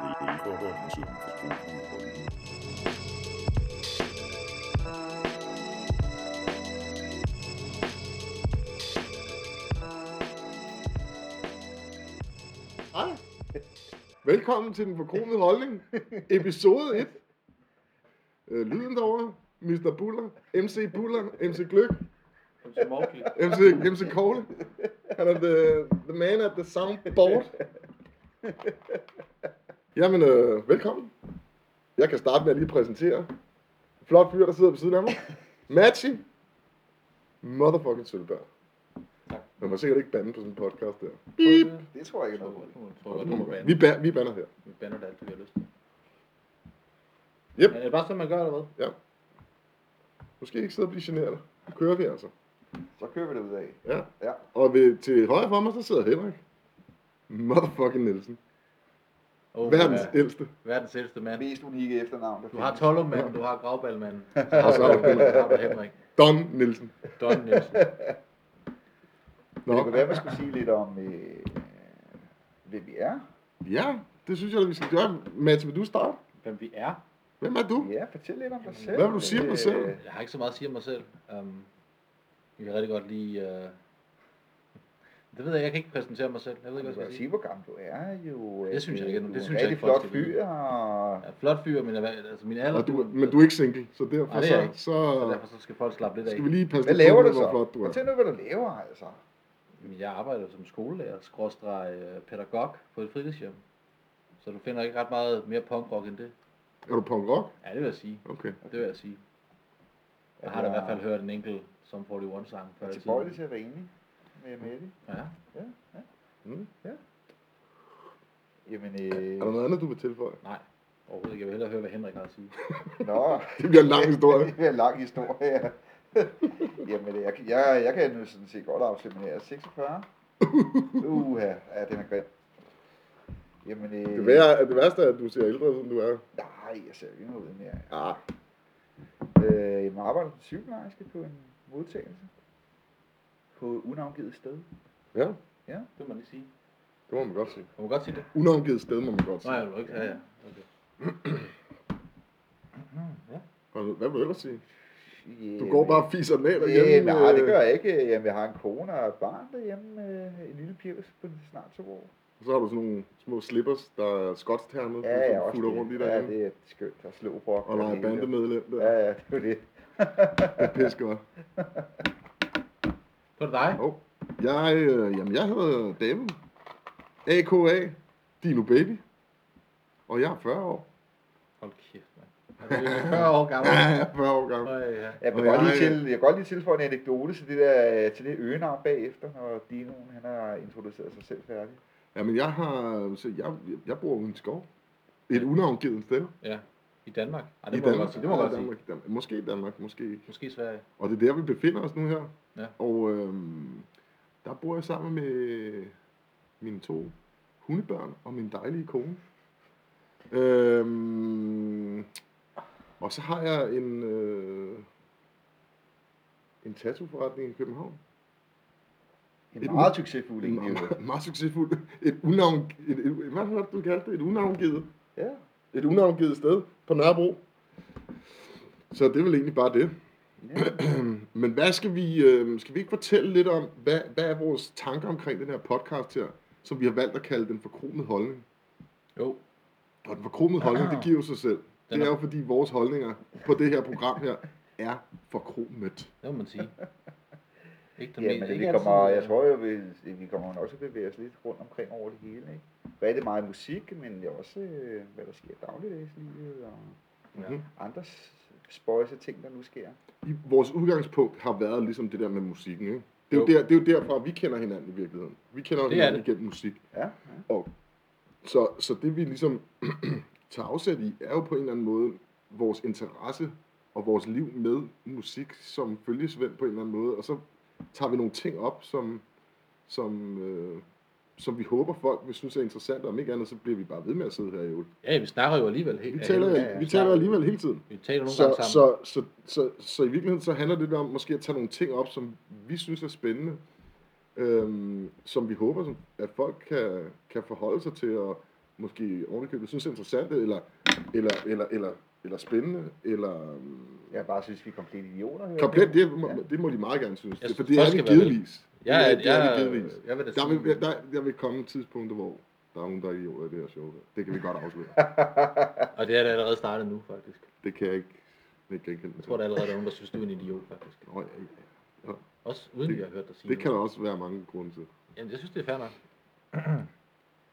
velkommen til Kulturkolonien. Hej. Velkommen til den forkromede holdning, episode 1. Øh, lyden derovre, Mr. Buller, MC Buller, MC Gløk, MC Mowgli. MC, MC Kogle. Han er the, the man at the soundboard. Jamen, øh, velkommen. Jeg kan starte med at lige præsentere. En Flot fyr, der sidder ved siden af mig. Matchy. Motherfucking Sølvberg. Tak. Man må sikkert ikke bande på sådan en podcast der. Det tror jeg ikke er noget. Beep. Vi, ban- vi banner her. Vi bander det alt, det vi har lyst til. Yep. Er det bare sådan, man gør, eller hvad? Måske ikke sidde og blive generet. Nu kører vi altså. Så kører vi det ud af. Ja. Ja. Og ved, til højre for mig, så sidder Henrik. Motherfucking Nielsen. Oh, Verdens ja. ældste. verdens ældste mand. Mest unikke efternavn. Der Du har findes. Tollumanden, du har Gravballmanden. Og så er der Henrik. har du Henrik. Don Nielsen. Don Nielsen. Nå. Det kunne være, man skulle sige lidt om, øh, hvem vi er. Ja, det synes jeg, at vi skal gøre. Mads, vil du starte? Hvem vi er. Hvem er du? Ja, fortæl lidt om dig selv. Hvad vil du sige om dig Øh, selv? Jeg har ikke så meget at sige om mig selv. Um, jeg kan rigtig godt lide... Uh... Det ved jeg, jeg kan ikke præsentere mig selv. Jeg ved Du ikke, hvad kan jeg godt skal sige, sige. hvor gammel du er jo. Det at, synes jeg øh, ikke, Du det er en synes jeg rigtig ikke, flot folk skal fyr, og Jeg er en flot fyr, men jeg, altså min alder... Og du, men du er ikke single, så derfor Nej, det er så, jeg ikke. så, Så derfor så skal folk slappe lidt af. skal vi lige passe hvad lidt laver med, du så? hvor flot du er. Fortæl nu, hvad du laver, altså. Jamen, Jeg arbejder som skolelærer, skråstreg øh, pædagog på et fritidshjem. Så du finder ikke ret meget mere punkrock end det. Er du punk rock? Ja, det vil jeg sige. Okay. Det vil jeg sige. Jeg At har da i jeg hvert fald hørt en enkelt som 41 sang før er i tilbøjelig til tiden. at være enig med Mette. Ja. Mm. Jamen, Er der øh, noget andet, du vil tilføje? Nej, overhovedet ikke. Jeg vil hellere høre, hvad Henrik har at sige. nå. Det bliver en lang historie. Det er en lang historie, ja. Jamen, jeg, jeg, jeg kan nu sådan set godt afsløre, men jeg er 46. Uha, ja, den er grim. Jamen, øh, Det, værre, det værste er, at du ser ældre ud, end du er. Nej, jeg ser ikke noget mere. Ja, Øh, jeg arbejder som sygeplejerske på en modtagelse. På et unavngivet sted. ja, Det må man ikke sige. det må man godt sige. Må man godt sige det? Unavngivet sted må man godt sige. Nej, jeg vil du ikke. Ja, ja. Okay. ja. Og Hvad vil du ellers sige? Yeah, Du går bare og fiser den af derhjemme. Yeah, nej, det øh, gør jeg ikke. Jamen, jeg har en kone og et barn derhjemme. øh, En lille pjevs på snart to år. Og så har du sådan nogle små slippers, der er skotsternet, ja, Ja, ja, som også futter rundt i det. dig. Ja, det er skønt at slå på. Og leger bandemedlem der. Ja, Ja. ja, det er jo det. Det er pis godt. Så er det dig. Oh. Jeg, øh, jamen, jeg hedder David. A.K.A. Dino Baby. Og jeg er 40 år. Hold kæft, mand. Altså, jeg er 40 år gammel. Ja, jeg er 40 år gammel. Øj, ja. Jeg kan, Og godt jeg- lige til, jeg kan godt lige tilføje en anekdote til det, der, til det øgenavn bagefter, når Dinoen han har introduceret sig selv færdig. Jamen, jeg, har, så jeg, jeg bor ude i en skov. Et unavngivet sted. ja. I Danmark. Ej, I det må man godt sige. Det må Ja, man godt Danmark, sige. Danmark. Måske i Danmark, måske ikke. Måske i Sverige. Og det er der, vi befinder os nu her. Ja. Og øhm, der bor jeg sammen med mine to hundebørn og min dejlige kone. Øhm, og så har jeg en, øh, en tattooforretning i København. En Et meget succesfuld En en, jo. meget, meget succesfuld. Et unavn, et, et, hvad var det, du kaldte det? Et unavngivet, Ja. et unavngivet sted på Nørrebro. Så det er vel egentlig bare det. ja. Men hvad skal vi, øh, skal vi ikke fortælle lidt om, hvad, hvad er vores tanker omkring den her podcast her, som vi har valgt at kalde den forkromede holdning? Jo, Og den forkromede holdning, det giver jo sig selv. Den Det er er- jo fordi vores holdninger på det her program her er forkromet. det må man sige. Ikke den ja mest- men ikke vi altid, kommer, øh, jeg tror jo, vi, vi kommer nok til at bevæge os lidt rundt omkring over det hele. Ikke? Rigtig meget musik, men det er også, øh, hvad der sker i dagligdagslivet og Mhm. andre s- spøjse ting, der nu sker. I, vores udgangspunkt har været ligesom det der med musikken, ikke? Det er, jo Jo. der, det er jo derfra, vi kender hinanden i virkeligheden. Vi kender Det er hinanden det. igennem musik. Ja, ja. Så, så det vi ligesom tager afsæt i, er jo på en eller anden måde vores interesse og vores liv med musik som følgesvend på en eller anden måde. Og så tager vi nogle ting op, som, som, øh, som vi håber folk vil synes er interessant, og om ikke andet, så bliver vi bare ved med at sidde her i øvrigt. Ja, vi snakker jo alligevel helt. Vi taler, helt- ja, ja. vi taler alligevel hele tiden. vi taler nogle Så, gange sammen. så, så, så, så i virkeligheden så handler det om måske at tage nogle ting op, som vi synes er spændende, øhm, som vi håber, som- at folk kan, kan forholde sig til og, måske ovenikøbet synes er interessante, eller, eller, eller, eller, eller spændende, eller... øhm, Jeg bare synes, vi er komplet idioter. hører Komplet, jeg. det, må, Ja. det må de meget gerne synes. Jeg Det, for synes, det folk er det skal være med. givetvis. Ja, det, er- jeg, det er det jeg, givetvis. jeg vil da Der sige, vil, der, der vil komme tidspunkter, hvor der er nogen, der er idioter i det her show. Der. Det kan vi godt afsløre. og det er da allerede startet nu, faktisk. det kan jeg ikke, ikke genkende. Jeg tror, der allerede er nogen, der synes, du er en idiot, faktisk. Nå, ja, ja. Også uden, Det- vi har hørt dig sige Det kan noget. der også være mange grunde til. Jamen, jeg synes, det er fair nok.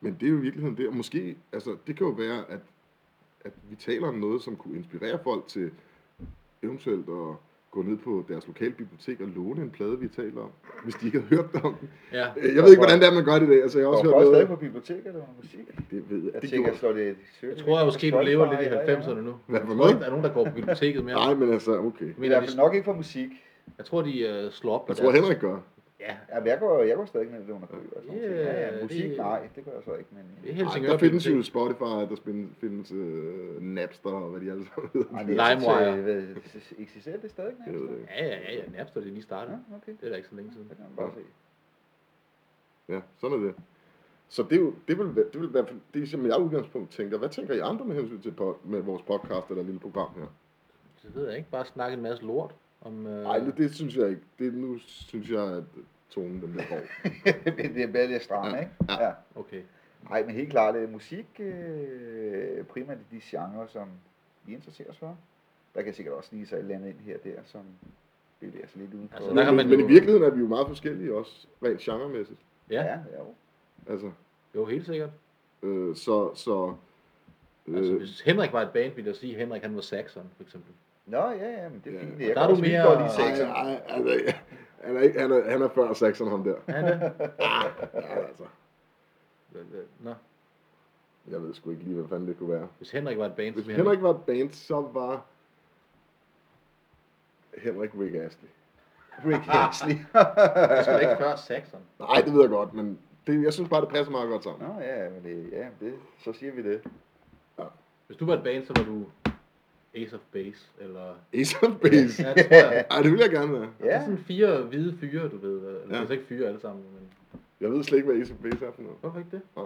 Men det er jo i virkeligheden det, og måske, altså, det kan jo være, at, at vi taler om noget, som kunne inspirere folk til eventuelt at gå ned på deres lokale bibliotek og låne en plade, vi taler om, hvis de ikke har hørt om. den. Ja, Jeg ved ikke, hvordan det er, man gør det i dag. Altså, jeg har Går også folk hørt stadig noget. på biblioteket eller musik? Det ved Jeg jeg. Det tænker, jeg gjorde slår det et søg. jeg tror måske, du lever lidt i 90'erne nu. Hvad Jeg for tror noget? ikke, der er nogen, der går på biblioteket mere. Nej, men altså, okay. Jeg Men mener, jeg de, er nok ikke for musik. jeg tror, de uh, slår op. Jeg på tror, deres- Henrik gør. Ja, Ja, men jeg går, jeg går stadig ned i det under bøger. og sådan nogle ting. Ja, Ja, ja, musik, det- nej, det gør jeg så ikke. Men, det er Ej, Helsingør. der findes jo Bibliotek. Spotify, der spin- findes øh, Napster og hvad de alle sammen Nej, hedder. det er så til- øh, hvad- Eksisterer det stadig? Jeg ved det ikke. Ja, ja, ja, ja. Napster, det er lige startet. Ja, okay. Det er da ikke så længe siden. Det kan man bare se. Ja, sådan er det. Så det, er jo, det, vil, være- det vil være, det er som jeg i udgangspunkt tænker. Hvad tænker I andre med hensyn til po- med vores podcast eller lille program her? Det ved jeg ikke. Bare snakke en masse lort om... Øh... Nej, det, det synes jeg ikke. Det, nu synes jeg, at tonen den bliver hård. Men det er bare lidt stramt, ikke? Ja. Ja. Okay. Nej, men helt klart, øh, musik øh, primært i de genrer, som vi interesserer os for. Der kan sikkert også lige sig et eller andet ind her og der, som bevæger sig lidt uden for. Altså, Men, der kan man men jo- i virkeligheden er vi jo meget forskellige også, rent genremæssigt. Ja, ja, ja, jo. Altså, jo, helt sikkert. øh, så, så øh, Altså, hvis Henrik var et band, ville jeg sige, at Henrik han var Saxon, for eksempel. Nå, ja, ja, men det er Ja. fint. Der Jeg er kan du også mere... mere- godt lide Ej, sex. ej, ej, altså, han er, ikke, han, er, han er før sexen, ham der. Er han det? Ja, altså. Nå. Jeg ved sgu ikke lige, hvad fanden det kunne være. Hvis Henrik var et band, så Hvis ville han... Henrik var et band, så var Henrik Rick Astley. Rick Astley. Det skulle ikke før Saxon. Nej, det ved jeg godt, men det, jeg synes bare, det passer meget godt sammen. Nå, ja, men det, ja, det, så siger vi det. Hvis du var et band, så var du Ace of Base, eller... Ace of Base. Ja, det tror jeg. Ej, det vil jeg gerne være. Ja. Det er Ja, sådan fire hvide fyre, du ved. Eller, Ja. ja. Det er ikke fyre alle sammen, men... Jeg ved slet ikke, hvad Ace of Base er for noget. Hvorfor ikke det? Nej.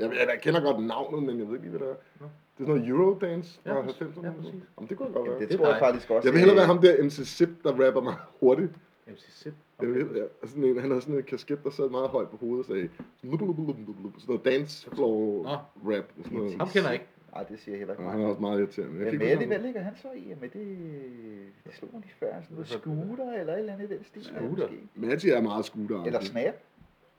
Jeg, jeg, jeg kender godt navnet, men jeg ved ikke lige, hvad det er. Nå. Det er sådan noget Eurodance fra Ja, 90'erne. eller ja, sådan noget. præcis. Jamen, det kunne godt Jamen, være. det Det er tror jeg dig. faktisk også. Jeg vil hellere øh, være ham der MC Zip, der rapper meget hurtigt. MC Sip. Jeg ved, ja. Og sådan en, han havde sådan en kasket, der sad meget højt på hovedet og sagde "Lup, lup, lup, lup, lup, lup." sådan noget dancefloor Nå. rap. og Sådan noget. Ham kender jeg ikke. Nej, det siger jeg heller ikke. Og mig. han er også meget irriterende. Men kan med ikke det, huske hvad ham. ligger han så i? Med det, det slog han lige før. Sådan noget Hvad så? scooter eller et eller andet i den stil. Scooter? måske. Magic er meget scooter. Eller snap?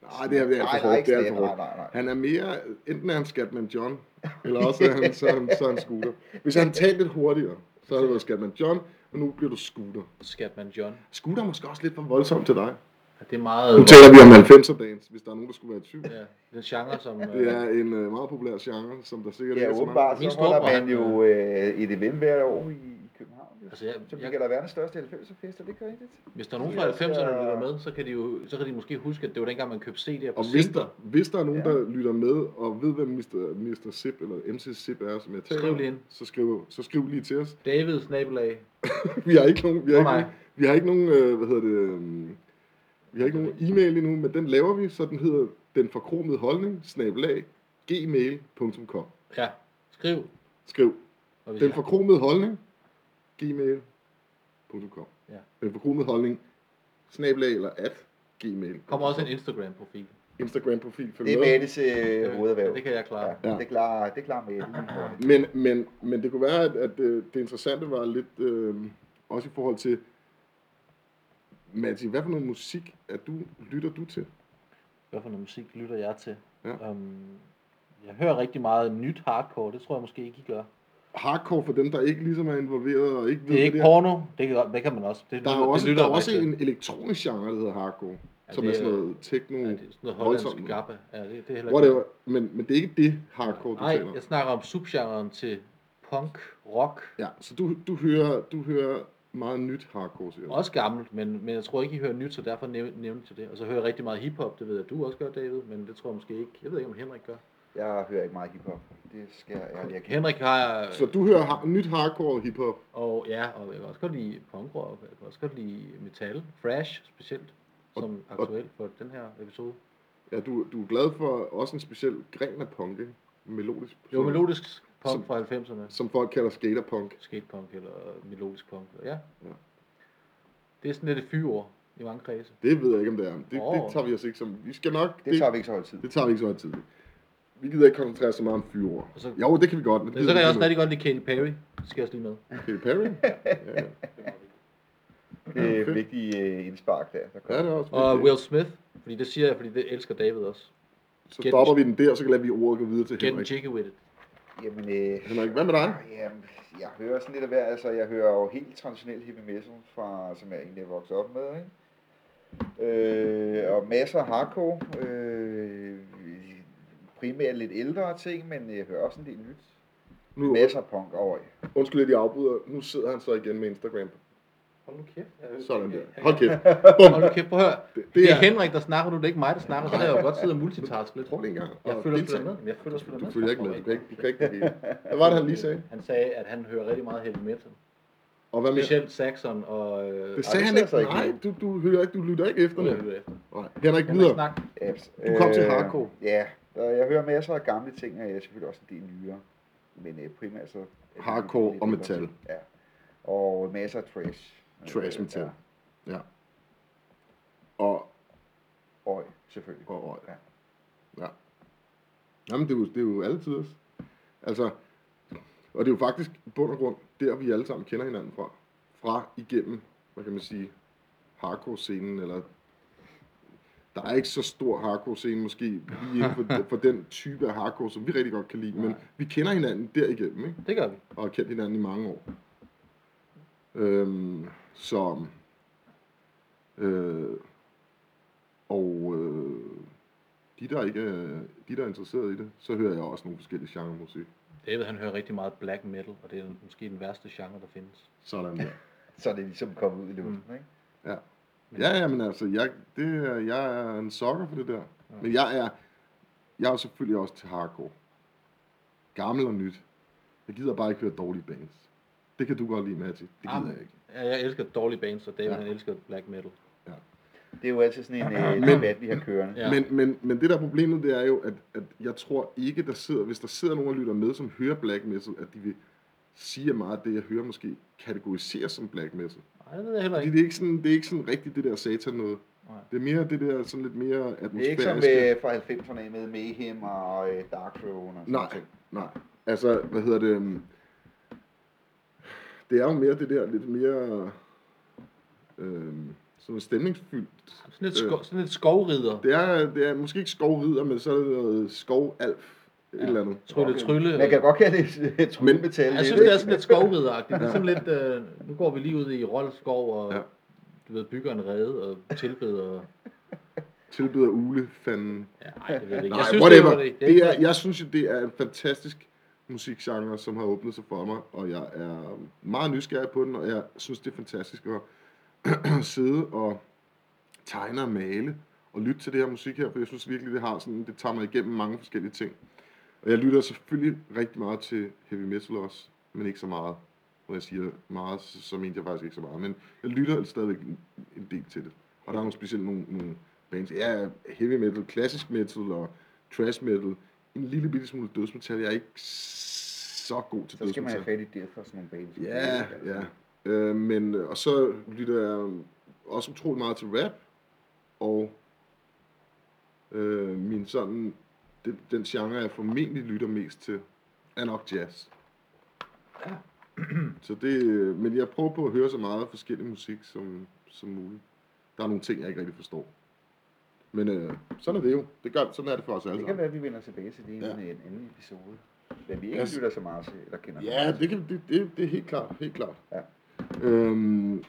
Nej, det er, det er Nej, for nej, hårdt. ikke Det er snap. for Nej, hårdt. nej, nej. Han er mere, enten er han Skatman John, eller også er han, så er han, så er han scooter. Hvis han talte lidt hurtigere, så havde det været Skatman John, men nu bliver du scooter. Skatman John. Scooter er måske også lidt for voldsomt til dig. Ja, Det er meget... Nu taler vi om 90'er dans, hvis der er nogen, der skulle være i tvivl. Ja, det er en genre, som... Det Øh, er en øh, meget populær genre, som der sikkert Ja, ikke er så mange- åbenbart, Min så holder storebror, man jo øh, et event hvert år i, i København. Jo. altså, jeg, Som jeg, kan da være den største 90'er fest, og det gør ikke det. Hvis der er nogen fra Ja, så- 90'erne, der lytter med, så kan, de jo, så kan de måske huske, at det var dengang, man købte CD'er på Og hvis Sister. der, hvis der er nogen, Ja. der lytter med og ved, hvem Mr. Mr. Sip eller MC Sip er, som jeg taler Skriv om, lige ind. så skriv, så skriv lige til os. David Snabelag. Vi har ikke nogen, vi har ikke, Nå, nej. nogen- vi har ikke nogen øh, hvad hedder det, øhm, vi har ikke nogen e-mail endnu, men den laver vi, så den hedder den forkromede holdning, snabelag, gmail.com. Ja, skriv. Skriv, Og hvis den I- forkromede holdning, gmail.com. Ja. Den forkromede holdning, snabelag eller at, gmail. kommer også en Instagram-profil. Instagram-profil, følg Det er med. Mattes øh, hovederhverv. Det kan jeg klare. Ja, det klarer, det klarer Mette. Men, men, men det kunne være, at, at øh, det interessante var lidt, øh, også i forhold til, Matti, hvad for noget musik er du, lytter du til? Hvad for noget musik lytter jeg til? Ja. Um, jeg hører rigtig meget nyt hardcore. Det tror jeg måske ikke, I gør. Hardcore for dem, der ikke ligesom er involveret og ikke ved, Det er hvad ikke det porno. Det kan, det kan man også. Det, Der er lytter- jo også, det der lytter er også rigtig. en elektronisk genre, der hedder hardcore, ja, Ja, som det er sådan er- noget techno, Ja, ja, det er sådan noget voldsomt. hollandsk gabba. Ja, det, det er heller Whatever. Men, men det er ikke det hardcore, du taler Nej, om. jeg snakker om subgenren til punk, rock. Ja, så du, du, hører, du hører meget nyt hardcore, siger du. Også gammelt, men, men jeg tror ikke, I hører nyt, så derfor næv- nævnte jeg det. Og så hører jeg rigtig meget hiphop, det ved jeg, du også gør, David, men det tror jeg måske ikke. Jeg ved ikke, om Henrik gør. Jeg hører ikke meget hiphop. Det skal jeg ærligt erkende. Henrik har... Så du hører har, nyt hardcore og hiphop. Og ja, og jeg kan også godt lide punkrock, jeg kan også godt lide metal, thrash specielt, som og- aktuelt for den her episode. Ja, du, du er glad for også en speciel gren af punk, ikke? melodisk. Jo, melodisk punk Som- fra 90'erne. Som folk kalder skaterpunk. Skatepunk eller melodisk punk. Ja. Ja. Det er sådan lidt et fyord i mange kredse. Det ved jeg ikke, om det er. Det, oh. Åh. det tager vi os ikke som... Vi skal nok... Det tager vi ikke så højt tid. det tager vi ikke så meget tid. Vi gider ikke koncentrere os så meget om fyre. Og så- Jo, det kan vi godt. Men Men så kan jeg også rigtig godt lide Katy Perry. Det skal jeg også lige med. Katy Perry? ja, ja. Det er fedt. vigtige øh, indspark der. der ja, kommer. det er også Og vigtigt. Will Smith. Fordi det siger jeg, fordi det elsker David også. Så Get- stopper vi den der, så kan lader vi ordet gå videre til Get Henrik. jiggy with it. Jamen, øh, Henrik, hvad med dig? Jamen, jeg hører sådan lidt af hver. Altså, jeg hører jo helt traditionel heavy metal, fra, som jeg egentlig er vokset op med, ikke? Øh, og masser af hardcore. Øh, primært lidt ældre ting, men jeg hører også en del nyt. Nu, Masser af punk over i. undskyld lidt, jeg afbryder. Nu sidder han så igen med Instagram. Hold nu kæft. Sådan der. Hold kæft. Hold nu kæft, prøv at høre. Det, Det er er... Henrik, der snakker nu, det er ikke mig, der snakker, så kan jeg jo godt sidde og multitaske lidt. Prøv lige en gang. Jeg Og følger deltag. spillet med. Jeg følger spillet med. Du følger ikke med. Du kan ikke, du kan ikke bevæge. Hvad var det, han lige sagde? Han sagde, at han hører rigtig meget heavy metal. Og hvad med? Specielt Saxon og... Øh, Det sagde Ej, han det ikke. sagde jeg Nej, ikke. du, du, hører ikke, du lytter ikke efter Ej, det nu. lyder efter. Nej, Henrik Henrik, videre. snak. Apps. Du kom til hardcore. Altså, øh, Ja, og jeg hører masser af gamle ting, og jeg er selvfølgelig også en del nyere. Men øh, primært så... er det Hardcore lidt og ældre metal. ting, Ja. Og masser af trash. Trash Øh, metal. Ja. Ja. Og Røg, selvfølgelig. Og røg. Ja. Ja. Jamen, det er jo, det er jo altid os. Altså, og det er jo faktisk i bund og grund der, vi alle sammen kender hinanden fra. Fra igennem, hvad kan man sige, hardcore-scenen, eller der er ikke så stor hardcore-scene måske lige inden for, for den type af hardcore, som vi rigtig godt kan lide, men Nej. vi kender hinanden derigennem, ikke? Det gør vi. og har kendt hinanden i mange år. Øhm, så... Øh, og øh, de, der ikke er, de, der er interesseret i det, så hører jeg også nogle forskellige genre musik. David, han hører rigtig meget black metal, og det er måske den værste genre, der findes. Sådan der. Så er det ligesom kommet ud i luften, Mm. ikke? Ja, ja, men altså, jeg, det, er- jeg er en sokker for det der. Men jeg er, jeg er selvfølgelig også til hardcore. Gammel og nyt. Jeg gider bare ikke høre dårlige bands. Det kan du godt lide, Matti. Det gider Amen. jeg ikke. Ja, jeg elsker dårlige bands, og David, Ja. ja. han elsker black metal. Det er jo altid sådan en øh, Men- debat, vi har kørende. Ja. Ja. Men, men, men det der er problemet, det er jo, at, at jeg tror ikke, der sidder, hvis der sidder nogen og lytter med, som hører black metal, at de vil sige at meget af det, jeg hører, måske kategoriseres som black metal. Nej, det ved jeg heller Fordi ikke. det er ikke sådan, det er ikke sådan rigtigt det der satan noget. Nej. Det er mere det der sådan lidt mere Det er ikke atmosfæriske. som øh, fra 90'erne med Mayhem og øh, Dark Throne og sådan Nej, noget. nej. Altså, hvad hedder det? øhm, Det er jo mere det der lidt mere øh, sådan stemningsfyldt Sådan lidt, sko- sådan lidt skovrider. Øh. Det er, det er måske ikke skovrider, men så er det noget skovalf, ja. et eller andet. Trylle, trylle. Man kan godt kalde det øh, tryllemetal. Jeg synes, det er sådan lidt skovrideragtigt. Det er sådan lidt, øh, nu går vi lige ud i Rold Skov og Ja. ja. du ved, bygger en rede og tilbeder. Tilbyder ulefanden. Ja, nej, det ved jeg ikke. Nej, Jeg synes, whatever. det var det. det er, jeg synes jo, det er en fantastisk musikgenre, som har åbnet sig for mig, og jeg er meget nysgerrig på den, og jeg synes, det er fantastisk at sidde og tegne og male og lytte til det her musik her, for jeg synes virkelig, det har sådan, det tager mig igennem mange forskellige ting. Og jeg lytter selvfølgelig rigtig meget til heavy metal også, men ikke så meget. Når jeg siger meget, så, så mente jeg faktisk ikke så meget. Men jeg lytter stadigvæk en, en del til det. Og der er nogle specielt nogle, nogle bands. Ja, heavy metal, klassisk metal og trash metal. En lille bitte smule dødsmetal. Jeg er ikke så god til Så skal man dødsmetal. have fat i det for sådan nogle bands. Ja, ja. Øh, men, øh, og så lytter jeg også utrolig meget til rap, og øh, min sådan, den, den genre, jeg formentlig lytter mest til, er nok jazz. Ja. Så det, øh, men jeg prøver på at høre så meget forskellig musik som, som muligt. Der er nogle ting, jeg ikke rigtig forstår. Men øh, sådan er det jo. Det gør, sådan er det for os alle Det kan sammen. være, at vi vender tilbage til det i en, Altså. øh, Ja. en anden episode. Men vi ikke Altså- lytter så meget til, eller kender Ja, det, kan, det, det, det er helt klart. Helt klart. Ja. Øhm,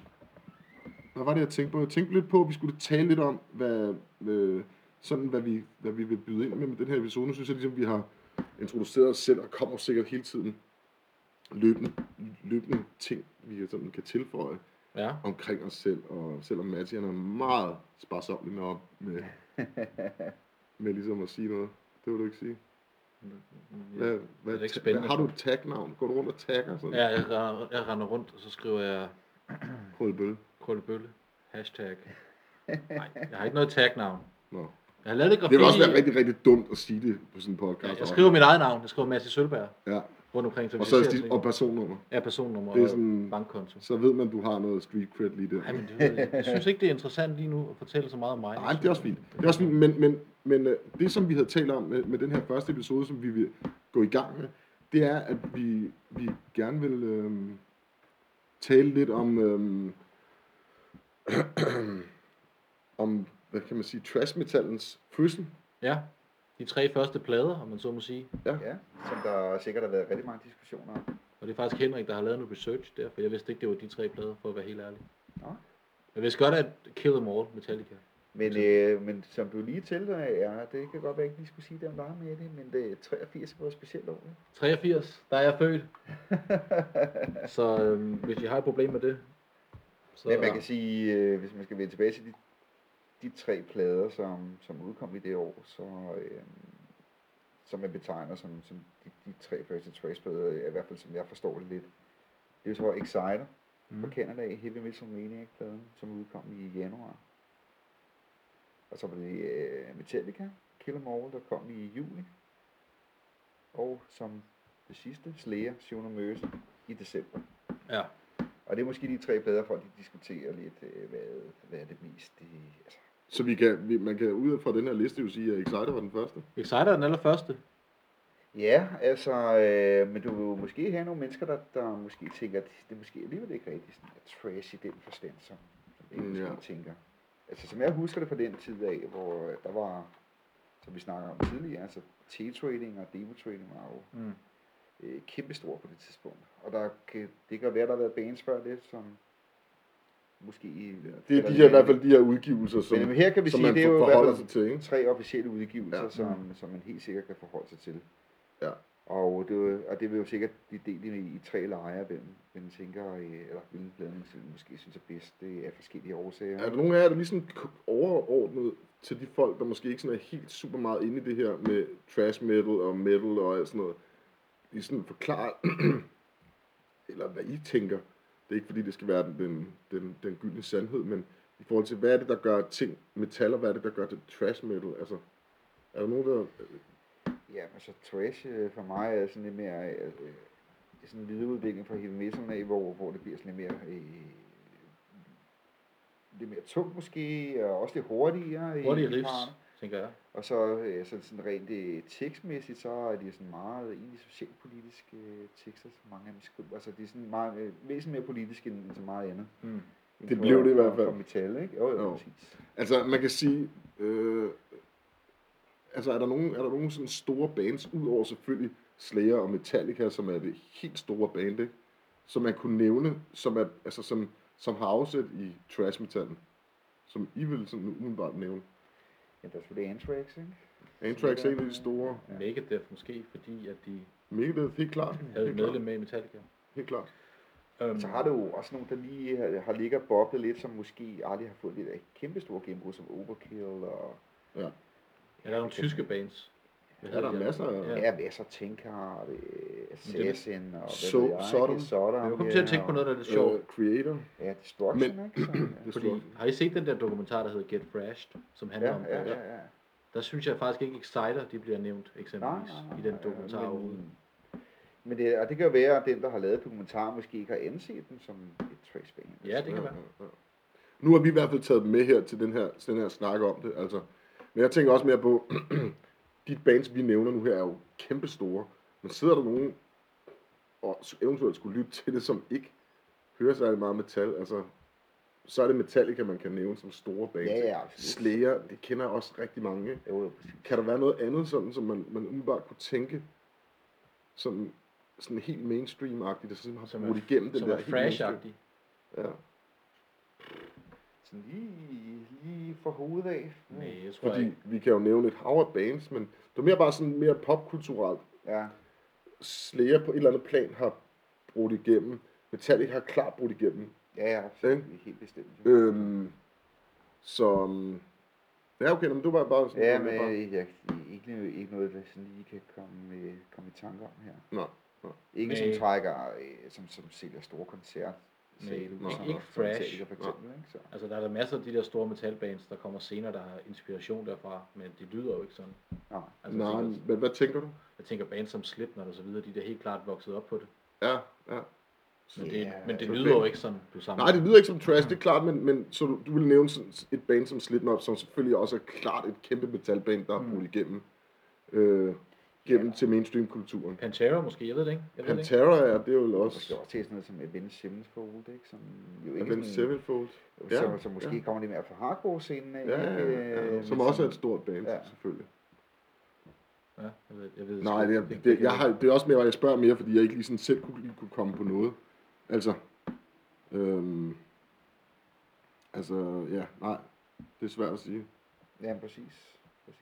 hvad var det, jeg tænkte på? Jeg tænkte lidt på, at vi skulle tale lidt om, hvad, øh, sådan, hvad, vi, hvad vi vil byde ind med med den her episode. Nu synes jeg, ligesom, vi har introduceret os selv, og kommer sikkert hele tiden løbende, løbende ting, vi sådan kan tilføje Ja, omkring os selv, og selvom Matti han er meget sparsomlig med, op- med, med ligesom at sige noget. Det vil du ikke sige. Hvad, hvad, ikke ta- hvad, spændende. har du et tagnavn? Går du rundt og tagger sådan? ja jeg, render, jeg render rundt, og så skriver jeg Krøllebølle. Krølle Bølle. Hashtag. Nej, jeg har ikke noget tagnavn. Nå. Jeg har lavet lidt Det graffiti. vil også være rigtig, rigtig dumt at sige det på sådan en podcast. Jeg, jeg skriver mit eget navn. Jeg skriver Mads Sølberg Ja, rundt omkring. og så er det og personnummer. er personnummer Det er og sådan- bankkonto. Så ved man, du har noget street cred lige der. Ej, men det, ved jeg ikke. jeg synes ikke, det er interessant lige nu at fortælle så meget om mig. Nej, det er også fint. Det er også fint, men, men, men øh, det, som vi havde talt om med, med den her første episode, som vi vil gå i gang med, det er, at vi, vi gerne vil øh, tale lidt om, øh, om, hvad kan man sige, trash metallens fødsel. Ja, de tre første plader, om man så må sige. Ja, som der sikkert har været rigtig mange diskussioner om. Og det er faktisk Henrik, der har lavet noget research der, for jeg vidste ikke, det var de tre plader, for at være helt ærlig. Nå. Jeg vidste godt, at Kill Em All, Metallica. Men, Altså- øh, men som du lige tilføjer, ja, det kan godt være, at jeg ikke lige skulle sige det om dig med det, men det er 83 var et specielt år. ikke? 83, der er jeg født. så øhm, hvis I har et problem med det, så... Men man kan sige, øh, hvis man skal vende tilbage til de, de tre plader, som, som udkom i det år, så, øh, som man betegner som, som de, de tre første traceplader, i hvert fald som jeg forstår det lidt. Det er jo så Exciter fra Mm. Canada, Heavy Metal Maniac-pladen, som udkom i januar. Og så var det øh, Metallica, Kill 'Em All, der kom i juli. Og som det sidste, Slayer, Sion og Mercy i december. Ja, Og det er måske de tre plader, folk de diskuterer lidt, øh, hvad, hvad er det mest... De, altså, Så vi kan, vi, man kan ud fra den her liste jo sige, at Exciter var den første. Exciter er den allerførste. ja, altså, øh, men du vil jo måske have nogle mennesker, der, der måske tænker, at det er måske alligevel ikke rigtig sådan er trash i den forstand, som, som jeg Mm, måske ja. tænker. Altså, som jeg husker det fra den tid af, hvor øh, der var, som vi snakker om tidligere, altså T-trading og demo-trading var jo Mm. øh, kæmpestor på det tidspunkt. Og der kan, det kan være, der har været bands før det, som måske... Det er de her, i hvert fald de her udgivelser, som, men her kan vi som sige, man det er jo i hvert forholder fald- sig til. Ikke? tre officielle udgivelser, Ja. ja. som, som man helt sikkert kan forholde sig til. Ja. Og det, vil- og det vil jo sikkert blive delt i, i tre lejre, hvem, hvem tænker, øh, eller hvilken plade man selv måske synes er bedst, det er forskellige årsager. Er der nogen af jer, der ligesom overordnet til de folk, der måske ikke sådan er helt super meget inde i det her med trash metal og metal og alt sådan noget? I sådan forklare, eller hvad I tænker. Det er ikke fordi, det skal være den, den, den, den gyldne sandhed, men i forhold til, hvad er det, der gør ting metal, og hvad er det, der gør det trash metal? Altså, er der nogen, der... Ja, men så trash øh, for mig er sådan lidt mere, øh, øh, sådan en videreudvikling fra heavy metal af, hvor, hvor det bliver sådan lidt mere, øh, lidt mere tungt måske, og også lidt hurtigere. øh, i- Hurtige i riffs, farten. tænker jeg. Og så, øh, så sådan rent øh, tekstmæssigt, så er de sådan meget egentlig socialpolitiske øh, tekster, som mange af dem skriver. Altså de er sådan meget, øh, væsentligt mere politiske end, end så meget andet. Mm. End Det for- blev det i hvert for- fald. For metal, ikke? Jo, jo, Jo. jo. præcis. Altså, man kan sige... Øh, altså, er der nogen, er der nogen sådan store bands, udover selvfølgelig Slayer og Metallica, som er det helt store band, ikke? som man kunne nævne, som, er, altså, som, som har afsæt i trash metallen, som I vil sådan umiddelbart nævne. Ja, der er selvfølgelig Anthrax, ikke? Anthrax er en af de store. Ja. Megadeth måske, fordi at de Megadeth, helt klart. havde Helt et medlem klart. med i Metallica. Helt klart. Um, Så har du jo også nogle, der lige har, har ligget og boblet lidt, som måske aldrig har fået det der kæmpe store gennembrud, som Overkill og... Ja, der er nogle tyske bands. Hvad Ja, der er hedder de? masser af- Ja, Ja. ja masser af Tankard, øh, Assassin og hvad So- ved jeg, Sodom. ikke? Sodom. Jeg kom ja, til at tænke på noget, der er lidt sjovt. Øh, creator. Ja, Men- Destruction, Men... ikke? Så, ja. Det er Fordi, stort. har I set den der dokumentar, der hedder Get Thrashed, som handler om Ja, det? ja, ja, ja. Der synes jeg faktisk ikke, Exciter de bliver nævnt eksempelvis i den dokumentar Ah. men- overhovedet. Men det, og det kan jo være, at den, der har lavet dokumentaren, måske ikke har anset den som et tracebane. Ja, det kan være. ja. Nu har vi i hvert fald taget dem med her til den her, til den her snak om det. Altså. Men jeg tænker også mere på, de bands, vi nævner nu her, er jo kæmpe store. Men sidder der nogen, og s- eventuelt skulle lytte til det, som ikke hører særlig meget metal, altså, så er det Metallica, man kan nævne som store bands. Ja, ja, absolut. Slayer, det kender jeg også rigtig mange. ikke? Jo, jo, præcis. Kan der være noget andet, sådan, som man, man umiddelbart kunne tænke, som sådan helt mainstream-agtigt, der sådan har Som er- brugt igennem den Som der er helt thrash mainstream? Ja. Sådan lige, lige fra hovedet af. Nej, jeg tror Fordi... Fordi ikke. vi kan jo nævne et hav af bands, men det er mere bare sådan mere popkulturelt. Ja, Slayer på et eller andet plan har brudt igennem. Metallica har klart brudt igennem. ja, ja absolut. Helt bestemt. Øhm, så... mm, Ja, okay, men du var bare sådan... Ja, det men var bare- jeg, jeg, ikke, ikke noget, der sådan lige kan komme, øh, komme i tanke om her. Nå, Ikke som Nej. trækker, øh, som, som sælger store koncert, Metallica, ikke- sådan ikke noget, som thrash. Metallica for eksempel, ikke? Så. Altså, der er der masser af de der store metalbands, der kommer senere, der har inspiration derfra, men det lyder jo ikke sådan. Nej. Altså, jeg, Nej, tænker, men hvad tænker du? jeg tænker bands som Slipknot og så videre, de er da helt klart vokset op på det. Ja, ja. Men det, Ja, men det for lyder jo fanden. ikke sådan, du sammen. Nej, det lyder ikke som trash, det er klart, men, men så du, du vil nævne sådan et band som Slipknot, som selvfølgelig også er klart et kæmpe metalband, der er Mm. brugt igennem, øh, gennem til mainstream-kulturen. Pantera måske, jeg ved det ikke. Jeg ved det ikke. Pantera er det er jo Og måske også også til sådan noget som Avenged Sevenfold, ikke? Som jo ikke Avenged sådan, Sevenfold, ja, Ja, som, som måske ja. kommer lidt mere fra hardcore-scenen af, ja, ikke? ja, ja, ja, Øh, som men også er et stort band, Ja. ja. selvfølgelig. Ja, jeg ved, jeg ved sgu Nej, det, ikke. er- det, jeg har, det er også mere, at jeg spørger mere, fordi jeg ikke lige sådan selv kunne, lige kunne komme på noget. Altså, øhm, altså, ja, nej, det er svært at sige. Ja, præcis. præcis.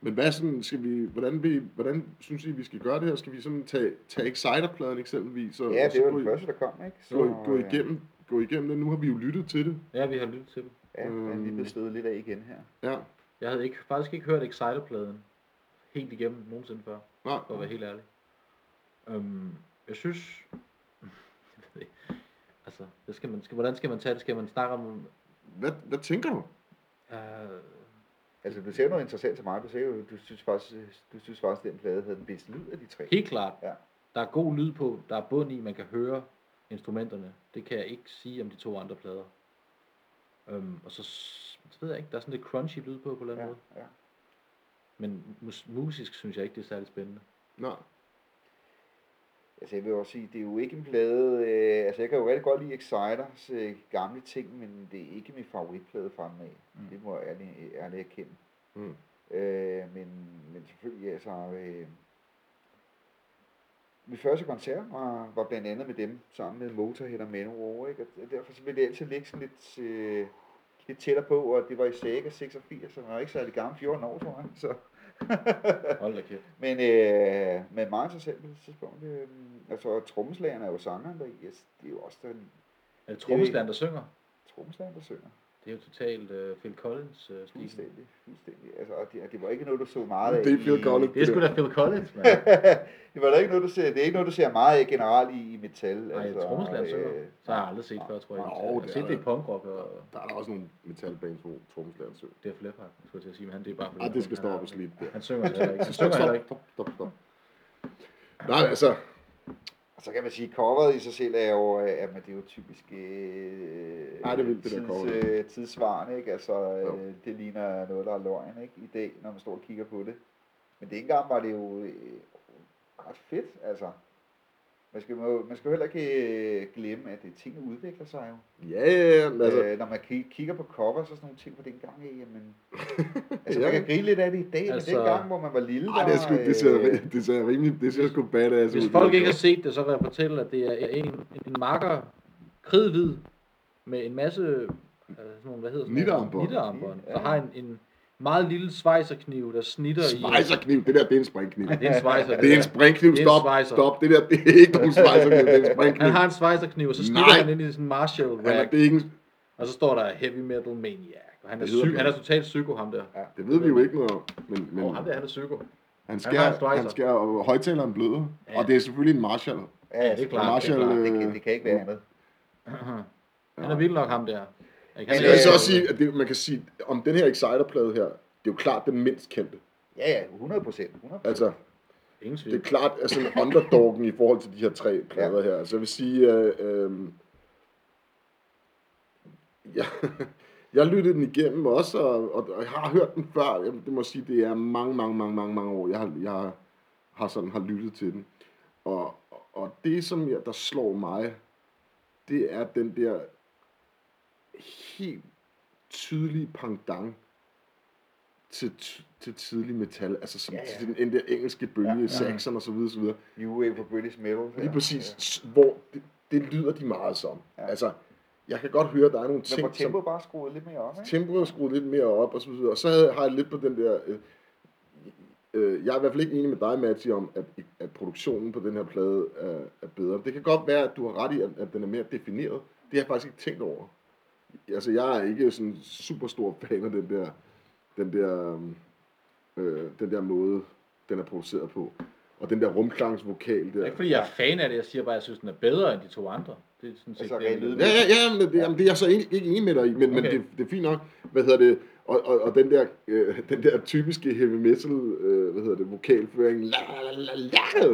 Men hvad sådan, skal vi, hvordan, vi, hvordan synes I, vi skal gøre det her? Skal vi sådan tage, tage Exciter-pladen eksempelvis? Og, Ja, og så det var gå den i- første, der kom, ikke? øh, Gå, i- gå, igennem, gå igennem det. Nu har vi jo lyttet til det. Ja, vi har lyttet til dem. Ja, den er lige Øhm. blevet stået lidt af igen her. Ja, Jeg havde ikke, faktisk ikke hørt Exciter-pladen helt igennem nogensinde før, nej. for at være helt ærlig. Øhm, jeg synes... jeg ved ikke. altså, det skal man, skal, hvordan skal man tage det? Skal man snakke om... Hvad, hvad tænker du? Øh, Altså, du ser noget interessant til mig. Du, ser jo, du synes faktisk, du synes faktisk, den plade havde den bedste lyd af de tre. helt klart, Ja. der er god lyd på, der er bund i, man kan høre instrumenterne. Det kan jeg ikke sige om de to andre plader. Øhm, og så, s- så ved jeg ikke, der er sådan lidt crunchy lyd på på en eller anden Ja, måde. ja. Men mus- musisk synes jeg ikke, det er særlig spændende. Nej. Altså, jeg vil også sige, det er jo ikke en plade... Øh, altså, jeg kan jo rigtig godt lide Exciters øh, gamle ting, men det er ikke min favoritplade fra dem af. Mm. Mm. Det må jeg ærligt, ærligt erkende. Mm. Øh, men, men selvfølgelig, altså... Øh, min første koncert var, var blandt andet med dem, sammen med Motorhead og Manowar, ikke? Og derfor så ville det altid ligge sådan lidt, øh, lidt tættere på, og det var i Sega 86, så man var ikke særlig gammel, 14 år, tror jeg. Så. Hold da kæft. Men, øh, men meget interessant på det tidspunkt. Øh, altså, trommeslageren er jo sangeren, der yes, det er jo også den Er det trommeslageren, der synger? trommeslageren, der synger. Det er jo totalt uh, Phil Collins uh, stil. Fuldstændig, fuldstændig. Altså, og det, og det var ikke noget, du så meget af. Det er Phil i- Collins. Det er sgu da Phil Collins, mand. det var da ikke noget, du ser, det er ikke noget, du ser meget af generelt i, i metal. Nej, trommeslageren synger. øh, Så har jeg aldrig set før, tror jeg. Nå, jeg har det set er det i der. punkrock og Der er der også nogle metalbands, hvor trommeslageren synger. Def Leppard, skulle jeg til at sige, men han det er bare... Ej, det skal han er- stoppes lige der. Han synger heller ikke. Han synger heller ikke. Stop, stop, stop. Nej, altså, Og så kan man sige, at coveret i sig selv er jo, øh, at man, det er jo typisk øh, Ej, det er vildt, det der cover. tids, øh, tidsvarende, ikke? Altså, Jo. øh, det ligner noget, der er løgn, ikke? I dag, når man står og kigger på det. Men det ikke engang var det jo øh, ret fedt, altså. Man skal, må, man skal jo heller ikke øh, glemme, at det, tingene udvikler sig jo. ja, ja, ja, men altså, øh, når man ki- kigger på cover, så sådan nogle ting på dengang, af, jamen... Altså, Ja. man kan grine lidt af det i dag, Altså- men dengang, hvor man var lille, øh, ej, det, er sgu, det, ser, ri- det ser rimelig, det ser sgu badass ud. Hvis folk ikke har set det, så vil jeg fortælle, at det er en, en marker, kridhvid, med en masse, øh, sådan nogle, hvad hedder sådan Nittearmbånd. Nittearmbånd. Ja. Så har en, en meget lille svejserkniv, der snitter i... Svejserkniv, det der, det er en springkniv. Det er en svejser. Det er en springkniv, Det er en stop, svejser. stop. Det der, det er ikke nogen spejserkniv, det er en springkniv. Han har en svejserkniv, og så snitter Nej. han ind i sådan en Marshall Han er, rack, det, er ikke, en- og så står der Heavy Metal Maniac. Og han er, Det hedder psy- det. han er totalt psyko, ham der. det ved vi jo ikke noget om, men, men Åh, ham der, han er psyko. han har en skærer, svejser. han skærer og højtaleren bløder, Ja. og det er selvfølgelig en Marshall. Ja, det er klart. klart. Marshall, det, kan, øh, det kan ikke være andet. Han er vild nok, ham der. Ikke? Men Altså, Han Jeg vil øh, så også sige, at det, man kan sige, om den her Exciter-plade her, det er jo klart den mindst kendte. Ja, ja, 100 procent. 100 Altså, Ingen det er tvivl. klart, altså underdoggen i forhold til de her tre plader her. Altså, jeg vil sige, øh, øh, jeg, jeg lyttede den igennem også, og, og, og jeg har hørt den før. Jeg, det må jeg sige, det er mange, mange, mange, mange, mange år, jeg, har- jeg har sådan har lyttet til den. Og, og det, som jeg, der slår mig, det er den der helt tydelige pendant til, til tidlig metal, altså som, Ja, ja, ja. ja. til den, den der engelske bølge, ja, Ja, ja. ja. Saxon og så videre, så videre. New Wave for British Metal. Lige præcis, s- hvor det, det lyder de meget som. Ja. Ja. Altså, jeg kan godt høre, at der er nogle Ja. Men ting, hvor tempoet bare skruet lidt mere op, som ikke? tempoet er skruet lidt mere op, og så videre. Og så havde, har jeg lidt på den der... Øh, øh, jeg er i hvert fald ikke enig med dig, Matti, om, at, at produktionen på den her plade er, er bedre. Det kan godt være, at du har ret i, at, at den er mere defineret. Det har jeg faktisk ikke tænkt over. Altså, jeg er ikke sådan super stor fan af den øh, der, den der, øhm, øh, den der måde, den er produceret på. og den der rumklangsvokal Det der. er ikke fordi, jeg er fan af det. Jeg siger bare, at jeg synes, den er bedre end de to andre. Det er sådan set Altså, det, jeg rent ved. Ja, ja, ja, men det, jamen, det er jeg så ikke, ikke enig med dig i, men, okay. men Okay. det, det er fint nok. Hvad hedder det? Og, og, og den, der, øh, den der typiske heavy metal, øh, hvad hedder det, vokalføring. La, la, la, la, la,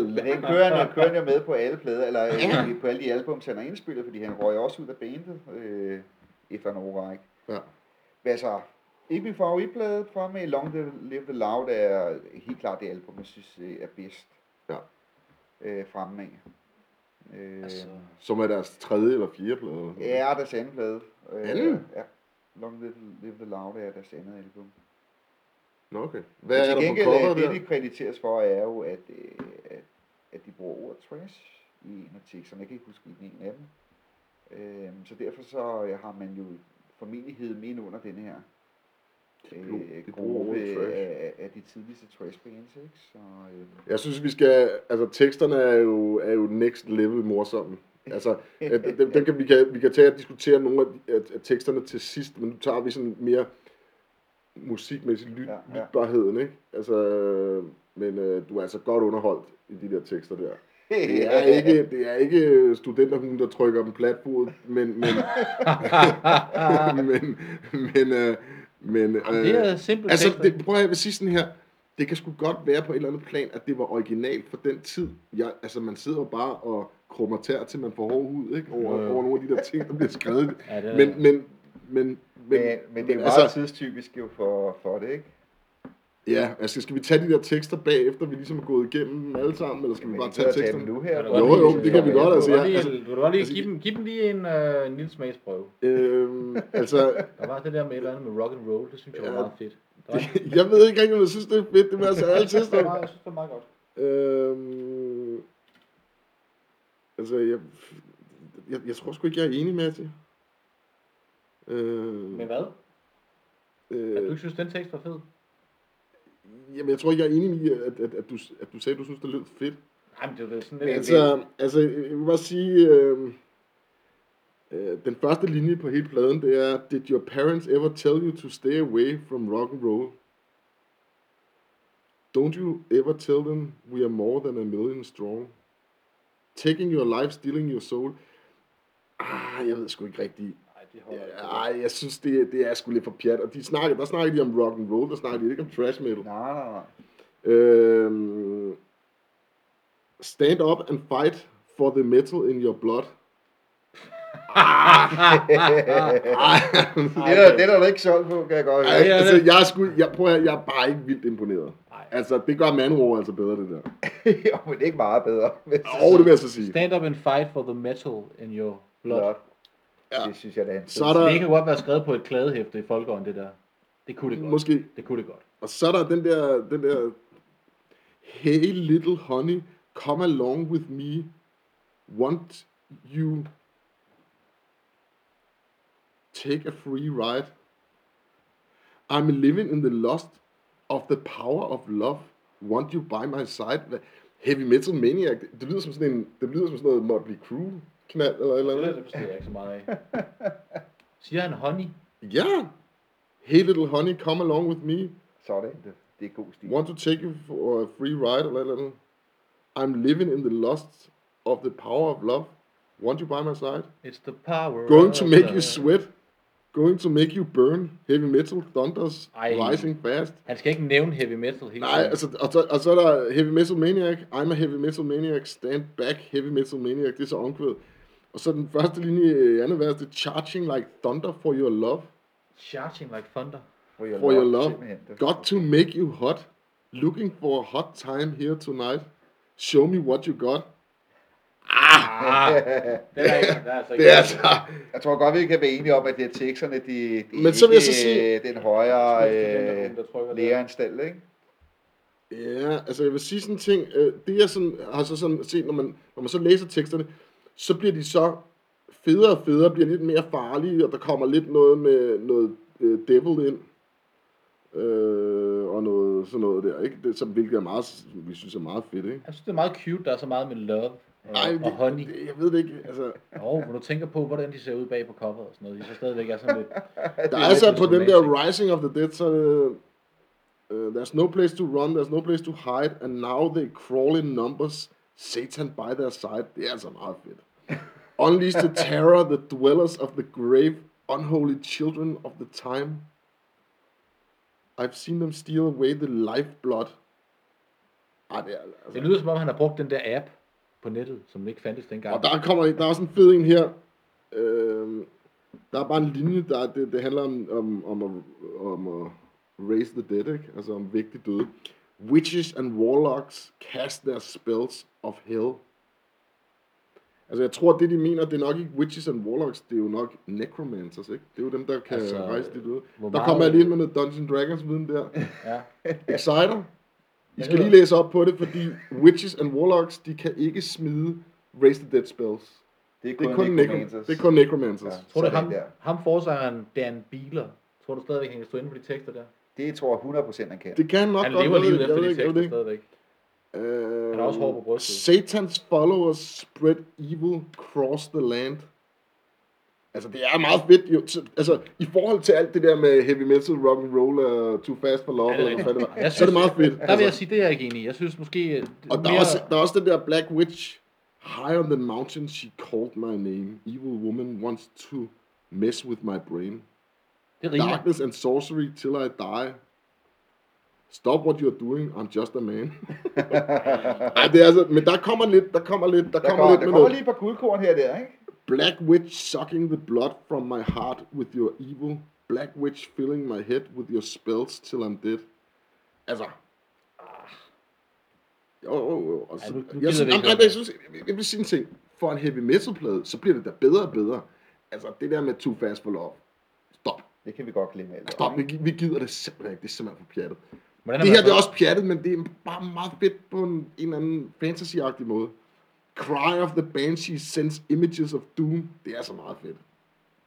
la, Men la. den kører han, kører han jo med på alle plader, eller øh, på alle de album, han har indspillet, fordi han røg også ud af bandet øh, efter en årrække. Ja. Men altså, ikke min favoritplade fra med Long the, Live the Loud er helt klart det album, jeg synes øh, er bedst. Ja. Øh, fremme af. Øh, Altså, Som er deres tredje eller fjerde plade. Ja, deres anden plade. Øh, Anden? Ja. Long Live, Live the Loud er deres andet album. Nå, okay. Men Hvad er til der på gengæld, øh, coveret det der? de krediteres for, er jo, at, øh, at, at de bruger ordet trash i en af teksterne. Jeg kan ikke huske hvilken en af dem. Øh, så derfor så øh, har man jo formentlig heddet med ind under den her bru- de øh, bruger gruppe ordet trash. af, af, af de tidligste trash bands, ikke? Så, øh, Jeg synes, vi skal... Altså, teksterne er jo, er jo next level morsomme. Altså, at, dem, dem kan, vi, kan, vi kan tage og diskutere nogle af, de- af, af teksterne til sidst, men nu tager vi sådan mere musikmæssigt ly, Ja, ja, ja. ja. lytbarheden, ikke? Altså, men øh, du er altså godt underholdt i de der tekster der. Det er ikke, det er ikke studenterhuen, der trykker dem platbord, men, men, Øh, men, men, øh, men, Ah. Jamen, det er simpelthen... Altså, det, prøv at jeg vil sige sådan her. Det kan sgu godt være på et eller andet plan, at det var originalt for den tid. Jeg, altså, man sidder jo bare og krummer tær til, man får hård hud, ikke? Over, Jo, jo. over nogle af de der ting, der bliver skrevet. ja, det er, Men, men, men, men, Men, men det er jo meget altså, tidstypisk jo for, for det, ikke? ja, altså, skal vi tage de der tekster bagefter, vi ligesom er gået igennem dem alle sammen, eller skal vi Men bare vi tage kan tage dem teksterne? nu her. Jo, hvor jo, vi- det kan vi som er godt, på. altså, ja. Vil du godt lige, vil du godt lige altså, give, dem, give dem lige en, øh, en lille smagsprøve? Øhm, altså, Der var det der med et eller andet med rock and roll, det synes jeg var Ja. meget fedt. Der var, jeg ved ikke rigtig, om jeg synes, det er fedt, det med altså alle det var tekster. meget, jeg synes, det var meget godt. Øhm, altså, jeg, jeg, jeg tror sgu ikke, jeg er enig med det. Øhm, Men hvad? At du øh, ikke synes, den tekst var fed? jamen, jeg tror ikke, jeg er enig i, at, at, at, du, at du sagde, at du synes, det lød fedt. Nej, men det var da sådan Men lidt... altså, altså, jeg vil bare sige, øh, øh, den første linje på hele pladen, det er, Did your parents ever tell you to stay away from rock and roll? Don't you ever tell them we are more than a million strong? Taking your life, stealing your soul. Ah, jeg ved sgu ikke rigtigt. Nej, det holder ikke. Ej, jeg synes, det, det er sgu lidt for pjat. Og de snakker, der snakker de om rock and roll, der snakker de ikke om trash metal. Nej, nej, nej. Øhm, stand up and fight for the metal in your blood. Ah. Ej, Det er, der- det er der da ikke solgt på, kan jeg godt høre. Ej, altså, jeg, er sgu, jeg, prøver, jeg er bare ikke vildt imponeret. Nej. Altså, det gør Manowar altså bedre, det der. jo, men det er ikke meget bedre. Men Åh, oh, det vil jeg så sige. Stand up and fight for the metal in your blood. Blot. Ja. Det synes jeg, det er en Så er der, Det kan godt være skrevet på et kladehæfte i folkeånd, det der. Det kunne det godt. måske, Det kunne det godt. og så er der den der, den der, Hey little honey, come along with me. Want you take a free ride? I'm living in the lust of the power of love. Want you by my side? Hvad- Heavy Metal Maniac, det, det lyder som sådan en, det lyder som sådan noget Motley Crue knald eller et eller Det, andet. det forstår jeg ikke så meget af. Siger han honey? Ja! Hey little honey, come along with me. Sådan. Det, det er god stil. Want to take you for a free ride eller et eller andet. I'm living in the lust of the power of love. Want you by my side. It's the power. Going to of make the- you sweat. Going to make you burn. Heavy metal thunders Ej. rising fast. Han skal ikke nævne heavy metal hele Nej, altså, og, så, og så er der Heavy Metal Maniac. I'm a Heavy Metal Maniac. Stand back, Heavy Metal Maniac. Det er så omkvædet. Og så den første linje i andet vers, det er Charging like thunder for your love. Charging like thunder. For your For your love. simpelthen. Det- Got to make you hot. Looking for a hot time here tonight. Show me what you got. Ah, det er ikke, det er altså ikke. Det er altså... Jeg tror godt, vi kan være enige om, at det er teksterne, de, de Men så vil jeg så ikke, sige- øh, den altså- højere Studentergruppen, der trykker øh, der. læreranstalt, ikke? Ja, altså jeg vil sige sådan en ting. Øh, det jeg sådan, har så sådan set, når man, når man så læser teksterne, så bliver de så federe og federe, bliver lidt mere farlige, og der kommer lidt noget med noget øh, devil ind. Øh, og noget sådan noget der, ikke? Det, som, hvilket er meget, som vi synes er meget fedt, ikke? Jeg synes, det er meget cute, der er så meget med love og, Ej, og honey. Det, jeg ved det ikke, altså... Jo, når du tænker på, hvordan de ser ud bag på coveret og sådan noget, de så stadigvæk er sådan lidt... Der er er altså lidt på den problematisk. der Rising of the Dead, så er det... Uh, there's no place to run, there's no place to hide, and now they crawl in numbers. Satan by their side. Det er altså meget fedt. Unleash the terror, the dwellers of the grave, unholy children of the time. I've seen them steal away the lifeblood. Ej, det er altså... Det lyder som om, han har brugt den der app på nettet, som ikke fandtes dengang. Og der kommer en- der er sådan en fed en her. Øh, der er bare en linje, der er- det, det handler om, om, om, at, om at raise the dead, ikke? altså om vigtige døde. Witches and warlocks cast their spells of hell. Altså jeg tror, det de mener, det er nok ikke witches and warlocks, det er jo nok necromancers, ikke? Det er jo dem, der kan altså, Altså, rejse de døde. hvor Der meget- kommer jeg lige ind med noget Dungeons Dragons viden der. Ja. Exciter. I skal hedder- lige læse op på det, fordi Witches and Warlocks, de kan ikke smide Raise the Dead spells. Det er Det er kun, kun, necro- necromancers. det er kun Necromancers. Ja. Tror du, Sådan ham, der. ham forsangeren Dan Beeler, tror du stadigvæk, han kan stå inde på de tekster der? Det tror jeg 100% han kan. Det kan han nok Han godt, lever jeg ved livet ikke, jeg efter ved de ikke, jeg ved tekster ikke. stadigvæk. Øh, Han har også hår på brystet. Satans followers spread evil across the land. Altså, det er meget fedt, jo. Så- Altså, i forhold til alt det der med heavy metal, rock and roll og too fast for love, Ja, det er eller hvad fanden det var, Jeg så er det meget fedt. Altså, Der vil jeg sige, det er jeg ikke enig i. Jeg synes måske... øh, Og der, mere- er også, der er også den der Black Witch. High on the mountain, she called my name. Evil woman wants to mess with my brain. Det rimer. Darkness and sorcery till I die. Stop what you're doing, I'm just a man. Ej, det er altså, men der kommer lidt, der kommer lidt, der, Der kommer, kommer, lidt der med kommer noget. lige et par guldkorn her og der, ikke? Black witch sucking the blood from my heart with your evil. Black witch filling my head with your spells till I'm dead. Altså. Jo, jo, jo. Og Ja, så, nu- nu gider jeg, vi synes, ikke jeg, jeg, høre jeg, synes, jeg, jeg vil sige en ting. For en heavy metal plade, så bliver det da bedre og bedre. Altså, det der med too fast for love. Stop. Det kan vi godt glemme alt. Stop. Vi, vi gider det simpelthen ikke. Det er simpelthen for pjattet. Hvordan Det man her det så- er også pjattet, men det er bare meget fedt på en, en eller anden fantasy-agtig måde. Cry of the Banshee sends images of doom. Det er så meget fedt.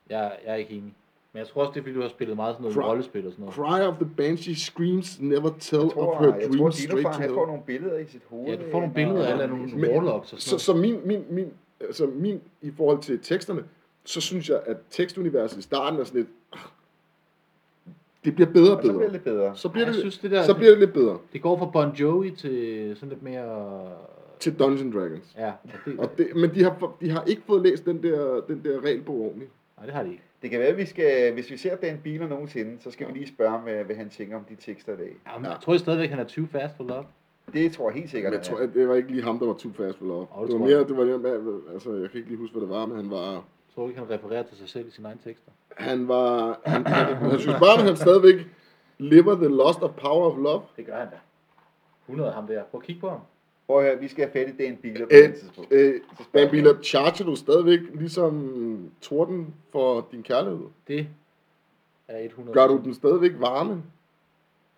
Jeg, jeg er ikke enig. Men jeg tror også, det er, fordi du har spillet meget sådan Fra- noget rollespil og sådan noget. Cry of the Banshee screams never tell Jeg tror, of her jeg tror dreams Dinofar, straight to han hell. får nogle billeder i sit hoved. Ja, du får nogle billeder af alle nogle Men- warlocks og Så, sådan så min, min, min, altså min, i forhold til teksterne, så synes jeg, at tekstuniverset i starten er sådan lidt, ah, det bliver bedre og Og så bliver bedre. det lidt bedre. Så bliver Ej, jeg det, synes, det der- så bliver det lidt bedre noget. Det går fra Bon Jovi til sådan lidt mere... til Dungeons Dragons. Ja, og det, Og det, men de har, for- de har ikke fået læst den der, den der regelbog ordentligt. nej, det har de ikke. Det kan være, at vi skal, hvis vi ser Dan Biler nogensinde, så skal vi lige spørge ham, hvad hvad han tænker om de tekster i dag. Jamen, Ja. Jeg tror I stadigvæk, han er 20 fast for love. Det tror jeg helt sikkert, Men jeg han tror, er. at det var ikke lige ham, der var too fast for love. Åh, det Det var tror jeg. mere, det var mere, med- altså jeg kan ikke lige huske, hvad det var, men han var, Jeg tror ikke, han refererer til sig selv i sine egne tekster. han var, han, han, han synes bare, at han stadigvæk lever the lost of power of love. Det gør han da. 100 ham der. Prøv at kigge på ham. Prøv at høre, vi skal have fat i Dan Biler på Øh, et tidspunkt. øh, Så spørger Dan jeg. Billup, charger du stadigvæk ligesom torden for din kærlighed? Det er 100. Gør du den stadigvæk varme?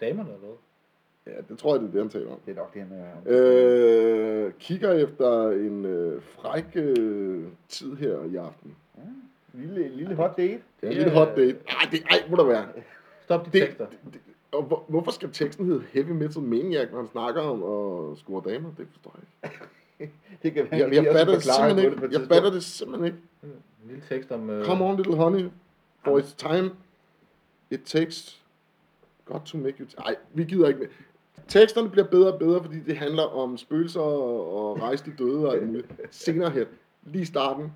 Damerne eller hvad? Ja, det tror jeg, det er det, han taler om. Det er nok det, han er. Øh, kigger efter en øh, fræk øh, tid her i aften. Lille, lille hot date. Det er en Det lille er- hot date. Ej, det, ej, må der være. Stop de Det- tekster. Og hvor, hvorfor skal teksten hedde Heavy Metal Maniac, når han snakker om at score damer? Det forstår jeg ikke. Det kan være, Jeg, vi jeg, giver os en fatter, det forklaring simpelthen på det på ikke. et jeg tidspunkt. fatter det simpelthen ikke. En lille tekst om... Øh, Come on, little honey. For it's time. It takes God to make you... T- Ej, vi gider ikke mere. Teksterne bliver bedre og bedre, fordi det handler om spøgelser og, og rejse de døde og alt muligt. Senere hen. Lige i starten.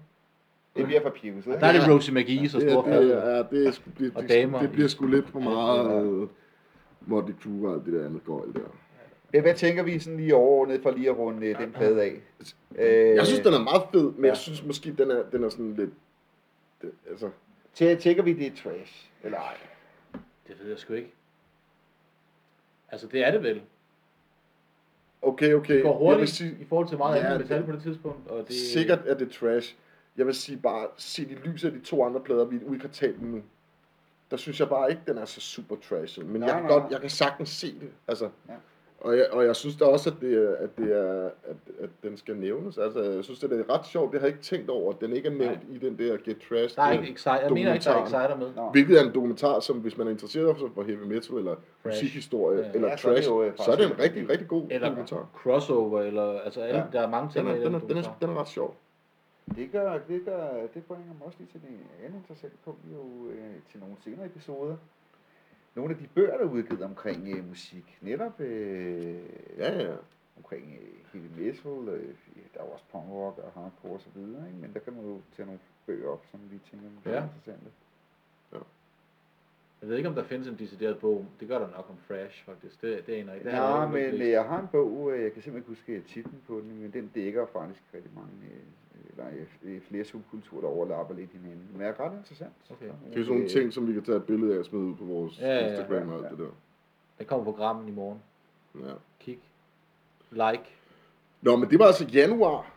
Det bliver for pivset. Der er det Ja. Rosie McGee, så Det, stor er- fad. det, er, det, er, sgu- det, Og det, damer. det, det bliver sgu lidt for meget... Øh, Motley Crue og alt det der andet gøjl der. Men hvad tænker vi sådan lige overordnet for lige at runde øh, den plade af? Øh, Jeg synes, den er meget fed, men Ja. jeg synes måske, den er, den er sådan lidt... Det, altså, tæ- Tænker vi, det er trash? Eller ej? Det ved jeg sgu ikke. Altså, det er det vel. okay, okay. Det går Jeg vil hurtigt sige, i forhold til meget Ja, andet det- metal på det tidspunkt. Og det, sikkert er det trash. Jeg vil sige bare, se de lyser af de to andre plader, vi ikke har talt om nu. Der synes jeg bare ikke, den er så super trashet. Men Nej, jeg, kan nej, godt, nej. jeg kan sagtens se det. Altså, Ja. og, jeg, og jeg synes da også, at, det er, at, det er, at, at den skal nævnes. Altså, jeg synes, det er ret sjovt. Det har jeg ikke tænkt over, at den ikke er nævnt i den der Get Trash. Der er ikke exciter. Jeg mener ikke, der er Dokumentaren. exciter med. Nå. Hvilket er en dokumentar, som hvis man er interesseret for- for heavy metal, eller Trash. musikhistorie, Ja. eller Ja, så er det trash, så jo, er øh, det, faktisk en en- rigtig, rigtig god Eller dokumentar. crossover, eller... Altså, alle, Ja. der er mange Den ting er, i den, er, den, dokumentar. er, den er ret sjov. Det gør, det gør, det bringer mig også lige til en anden interessant punkt jo øh, til nogle senere episoder. nogle af de bøger, der er udgivet omkring øh, musik. Netop øh, Ja, ja. omkring øh, heavy metal, øh, ja, der er jo også punk rock og hardcore og så videre, ikke? men der kan man jo tage nogle bøger op, som vi tænker, der er Ja. interessante. Jeg ved ikke, om der findes en decideret bog. Det gør der nok om Fresh, faktisk. Det, det aner jeg ikke. Det har Ja, jeg ikke men læst. øh, jeg har en bog, øh, jeg kan simpelthen ikke huske titlen på den, men den dækker faktisk rigtig mange, øh, øh, nej, øh, flere subkulturer, der overlapper lidt hinanden. Men er ret interessant. øh, Okay. Det er jo sådan nogle ting, som vi kan tage et billede af og smide ud på vores Ja, ja, ja. Instagram og alt Ja. det der. Den kommer på grammen i morgen. Ja. Kig. Like. Nå, men det var altså januar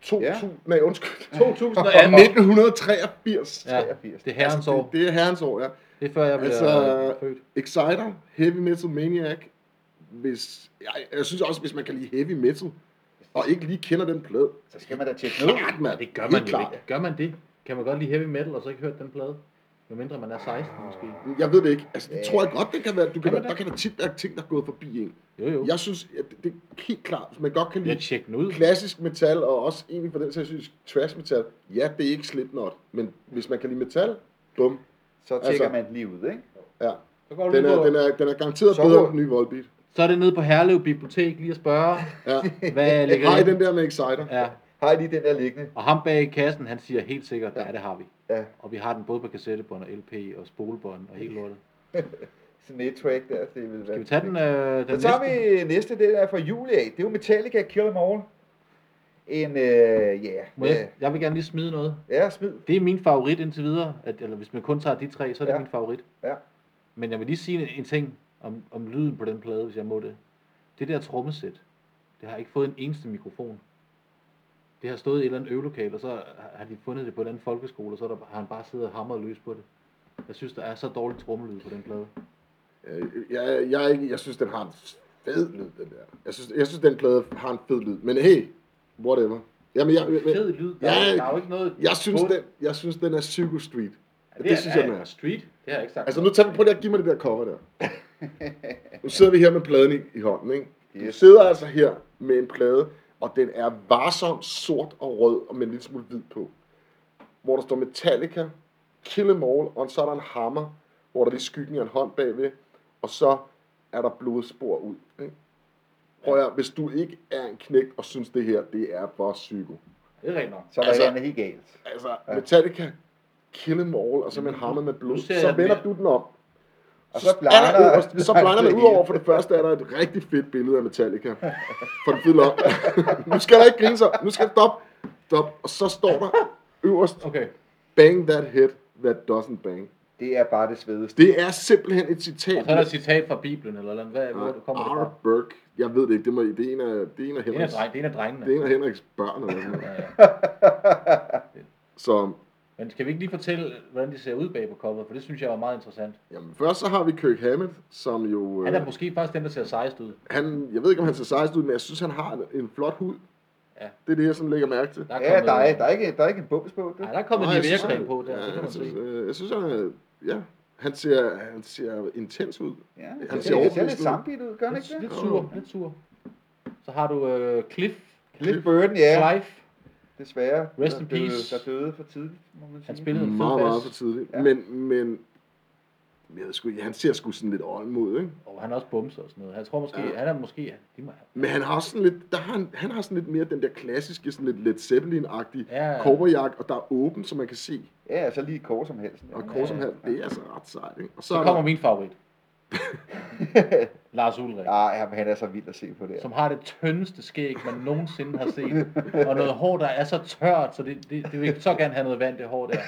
2000, ja. nej undskyld, 2018. 1983. Ja, det er herrens altså, år. det, det er herrens år, ja. Det er før jeg bliver Altså- altså... født. Exciter, Heavy Metal Maniac, hvis, jeg, jeg synes også, hvis man kan lide Heavy Metal, og ikke lige kender den plade, Så skal man da tjekke ned. klart, mand. Det gør man Helt jo klart. ikke. Gør man det? Kan man godt lide heavy metal og så ikke hørt den plade? Jo mindre man er 16 måske. Jeg ved det ikke. Altså, det Ja. tror jeg godt, det kan være. Du kan, Kan være, man der det? kan der tit være ting, der er gået forbi en. Jo jo. Jeg synes, at det, det er helt klart, hvis man godt kan Jeg lide tjekker den ud. klassisk metal, og også egentlig for den sags skyld trash metal, ja, det er ikke Slipknot, men hvis man kan lide metal, bum. Så tjekker Altså- altså, man den lige ud, ikke? Ja, Så, går du den lige er, på, den er, den er garanteret Så- bedre end den nye Volbeat. så er det nede på Herlev Bibliotek lige at spørge, Ja. hvad ligger Har I i den der med Exciter? Ja. Har I lige den der liggende? Og ham bag i kassen, han siger helt sikkert, ja, det har vi. Ja, Og vi har den både på kassettebånd og LP og spolebånd og helt lortet. sådan et track der, det vil være. Skal vi tage den, øh, den Så tager næste? vi næste, det der er fra juli af. Det er jo Metallica Kill Em All. En, øh, ja, Må jeg, jeg vil gerne lige smide noget. ja, smid. Det er min favorit indtil videre. At, eller hvis man kun tager de tre, så er det Ja. ja. min favorit. Ja. Men jeg vil lige sige en, en ting om, om lyden på den plade, hvis jeg må det. Det der trommesæt, det har ikke fået en eneste mikrofon. Det har stået i et eller andet øvelokale, og så har- har de fundet det på en eller anden folkeskole, og så er der, har han bare siddet og hamret løs på det. Jeg synes, der er så dårlig trommelyd på den plade. Øh, Jeg, jeg, er ikke, jeg synes, den har en fed lyd, den der. Jeg synes, jeg synes den plade har en fed lyd. Men hey, whatever. Jamen, jeg, jeg, Fed lyd, der, Ja, er- der er jo ikke noget... jeg, synes, bund. den, jeg synes, den er Psycho Street. Ja, det synes jeg, den ja, er. Street, det har jeg ikke sagt. Altså, nu tager vi på lige at give mig det der cover der. Nu sidder vi her med pladen i, i hånden, ikke? Du Yes. sidder altså her med en plade, og den er varsom, sort og rød, og med en lille smule hvid på. Hvor der står Metallica, Kill Em All, og så er der en hammer, hvor der lige skyggen af en hånd bagved, og så er der blodspor ud. Ikke? Prøv at, høre, hvis du ikke er en knægt og synes det her, det er for psyko. Det er rent nok. Så er der Altså- altså, andet helt galt. Altså, Metallica, Kill Em All, og så med en hammer med blod, Mm-hmm. Nu ser så jeg den vender her. du den om. Og Så så er der blander... øverst, så blander man ud over, for det første er der et rigtig fedt billede af Metallica. For den fede op. nu skal der ikke grine sig. Nu skal stop. Stop. Og så står der øverst, Okay. bang that head that doesn't bang. Det er bare det svedeste. Det er simpelthen et citat. Og så er der et citat fra Bibelen, eller noget. Hvad, hvor fra kommer det fra? Art Burke. Jeg ved det ikke. Det, må, det, er, en af, det er en af Det er en af Henriks, dreng- det er en af drengene. det er en af Henriks børn. Eller sådan noget. Ja, ja. Så Men skal vi ikke lige fortælle, hvordan de ser ud bag på coveret? For det synes jeg var meget interessant. jamen, først så har vi Kirk Hammett, som jo... Han øh, er måske faktisk den, der ser sejest ud. han, jeg ved ikke, om han ser sejst ud, men jeg synes, han har en, en flot hud. Ja. Det er det, jeg sådan lægger mærke til. Der er Ja, der er, der der er, ikke, der er ikke en bums på det. er, der er kommet Nå, en jeg synes, leveringsring han- på der. Ja, det kan jeg, man synes, se. øh, jeg synes, han, øh, ja, han ser, han ser intens ud. Ja, Han ser det ser, det ser overbevist lidt ud. sammenbidt ud, gør det Lidt, ikke det? lidt sur, lidt sur. Så har du øh, Cliff, Lidt burden, ja. Clive. Desværre. Rest der in døde, peace. Der døde for tidligt, må man sige. Han spillede en Meget, meget for fed tidligt. Ja. Ja. Men, men jeg ved sgu, ikke, han ser sgu sådan lidt ånd mod, ikke? Og han er også bumser og sådan noget. Jeg tror måske, Ja. han er måske... De må, Men han har også sådan lidt, der har han, han har sådan lidt mere den der klassiske, sådan lidt Led Zeppelin-agtige Ja. cowboyjakke, og der er åben, så man kan se, Ja, så lige et kors om halsen. og Ja. kors som halv, det er altså ret sejt, ikke? Og så, så er kommer der, min favorit. Lars Ulrik. Ej, jamen, han er så vild at se på det. her. som har det tyndeste skæg, man nogensinde har set. Og noget hår, der er så tørt, så det, det, det vil så gerne have noget vand, det hår der.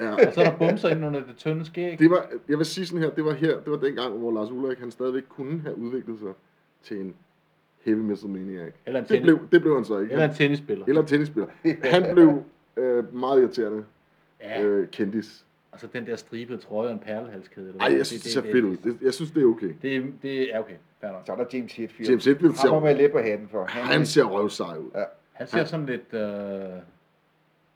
ja, Og så er der bumser ind under det tynde skæg. det var, jeg vil sige sådan her, det var her, det var dengang, hvor Lars Ulrik, han stadigvæk kunne have udviklet sig til en heavy metal maniac. Eller en Det tennis, blev, det blev han så ikke. eller en tennisspiller. Eller tennisspiller. Han blev øh, meget irriterende Ja, øh, kendis. og så den der stribede trøje og en perlehalskæde. eller hvad Ej, det er, jeg synes, det ser fedt ud. Det- Jeg synes, det er okay. Det, det, det er okay, fair nok. Så er der James Hetfield. James Hetfield Han må ser, man lidt på hatten for. Han, han ser røvsej ud. Han ser sådan lidt... Øh...